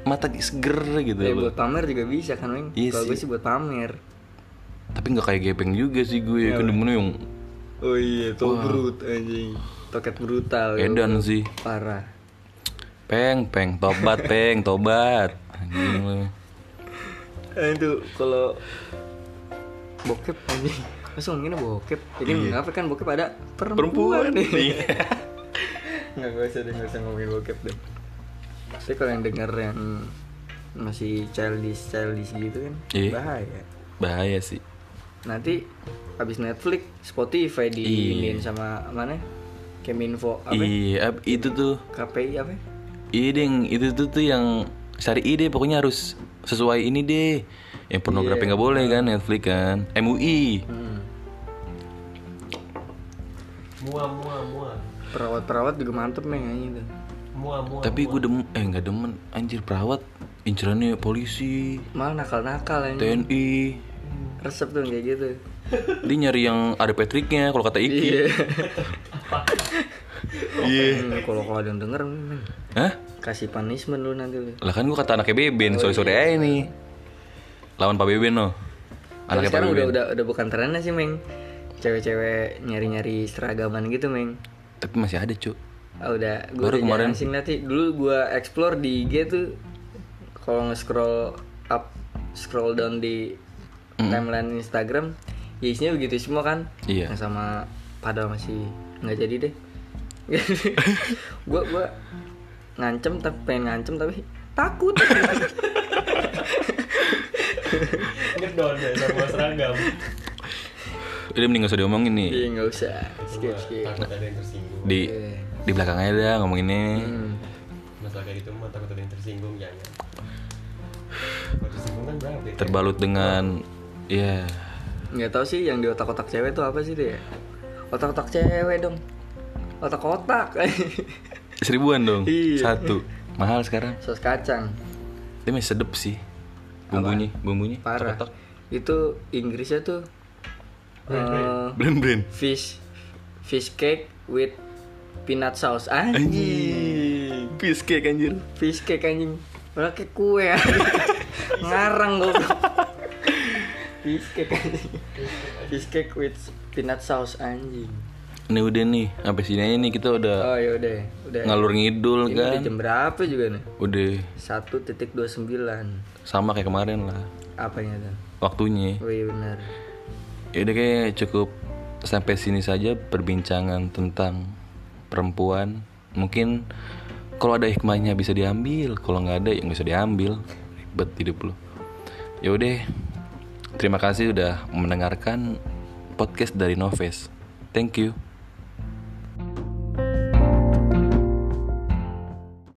S1: mata di- seger gitu
S2: Ya,
S1: loh.
S2: buat pamer juga bisa kan, Weng?
S1: Iya
S2: Kalau gue
S1: sih.
S2: sih buat pamer.
S1: Tapi nggak kayak gepeng juga sih gue,
S2: Iya,
S1: kan demennya yang
S2: Oh iya, tuh brut anjing. Toket brutal. lu.
S1: edan sih.
S2: Parah.
S1: Peng, peng, tobat, peng, tobat. Anjing lu.
S2: Eh, itu kalau bokep anjing. Masa ngomonginnya bokep? Jadi kenapa kan bokep ada perempuan, nih. Nggak, nggak usah deh, nggak usah ngomongin bokep deh. Tapi kalau yang denger yang masih childish childish gitu kan
S1: Iya.
S2: bahaya.
S1: Bahaya sih.
S2: Nanti habis Netflix, Spotify diinin sama mana? Keminfo apa?
S1: Iya, ab- itu tuh.
S2: KPI apa? ya?
S1: Iya deng, itu tuh tuh yang cari ide pokoknya harus sesuai ini deh. Yang pornografi
S2: Iya,
S1: nggak boleh kan Netflix kan. MUI.
S2: Hmm.
S4: Mua mua mua.
S2: Perawat-perawat juga mantep nih kayaknya itu.
S4: Mua mua.
S1: Tapi gue demen, eh nggak demen. Anjir perawat, incerannya polisi,
S2: Malah nakal-nakal anjing.
S1: TNI.
S2: Resep tuh kayak gitu.
S1: Dia nyari yang ada Patricknya kalau kata Iki.
S2: Iya. Iya. Kalau kalau ada yang denger men,
S1: Hah?
S2: kasih punishment lu nanti lu.
S1: Lah kan gue kata anaknya
S2: Oh,
S1: Beben, sore-sore
S2: iya.
S1: aja nih. Lawan Pak Beben no.
S2: Tapi
S1: Anaknya Pak
S2: sekarang
S1: Beben.
S2: udah, udah udah bukan trennya sih, Meng. Cewek-cewek nyari-nyari seragaman gitu, Meng.
S1: Tapi masih ada cu.
S2: Ah, udah gue
S1: Baru
S2: udah
S1: kemarin-
S2: kemarin sih nanti dulu gue explore di IG tuh kalau nge-scroll up scroll down di timeline Instagram ya isinya begitu semua kan
S1: Hmm. Iya.
S2: yang sama pada masih nggak jadi deh gue gue ngancem tapi pengen ngancem tapi takut
S4: ngedon ya sama seragam.
S1: Udah mending gak usah diomongin nih.
S2: Iya, nggak usah skip skip
S4: Takut ada yang tersinggung.
S1: Di di belakang aja dah ngomonginnya.
S2: Hmm.
S4: Masalah kayak gitu mah takut ada yang tersinggung jangan. Kalau tersinggung kan berapa?
S1: Terbalut dengan ya
S2: nggak tahu sih yang di otak-otak cewek tuh apa sih tuh ya otak-otak cewek dong otak-otak
S1: seribuan dong.
S2: Iya.
S1: Satu. Mahal sekarang.
S2: sos kacang
S1: Tapi masih sedep sih. Bumbunya, bumbunya.
S2: parah itu Inggrisnya tuh eh,
S1: Brand brand.
S2: fish fish cake with peanut sauce anjing
S1: Anjing. Piece cake anjir.
S2: fish cake anjing malah kayak kue anjing. ngarang goblok fish cake anjing fish cake with peanut sauce anjing
S1: Ini udah nih, sampai sini aja nih kita udah
S2: oh yaudah udah
S1: ngalur ngidul
S2: ini Iya, udah
S1: kan.
S2: jam berapa juga nih
S1: Udah
S2: satu titik dua sembilan
S1: sama kayak kemarin lah
S2: apanya tuh
S1: waktunya.
S2: oh iya benar
S1: Ya udah kayak cukup sampai sini saja perbincangan tentang perempuan. Mungkin kalau ada hikmahnya bisa diambil, kalau nggak ada ya nggak usah diambil. Ribet hidup lu. Ya udah. Terima kasih udah mendengarkan podcast dari Noves. Thank you.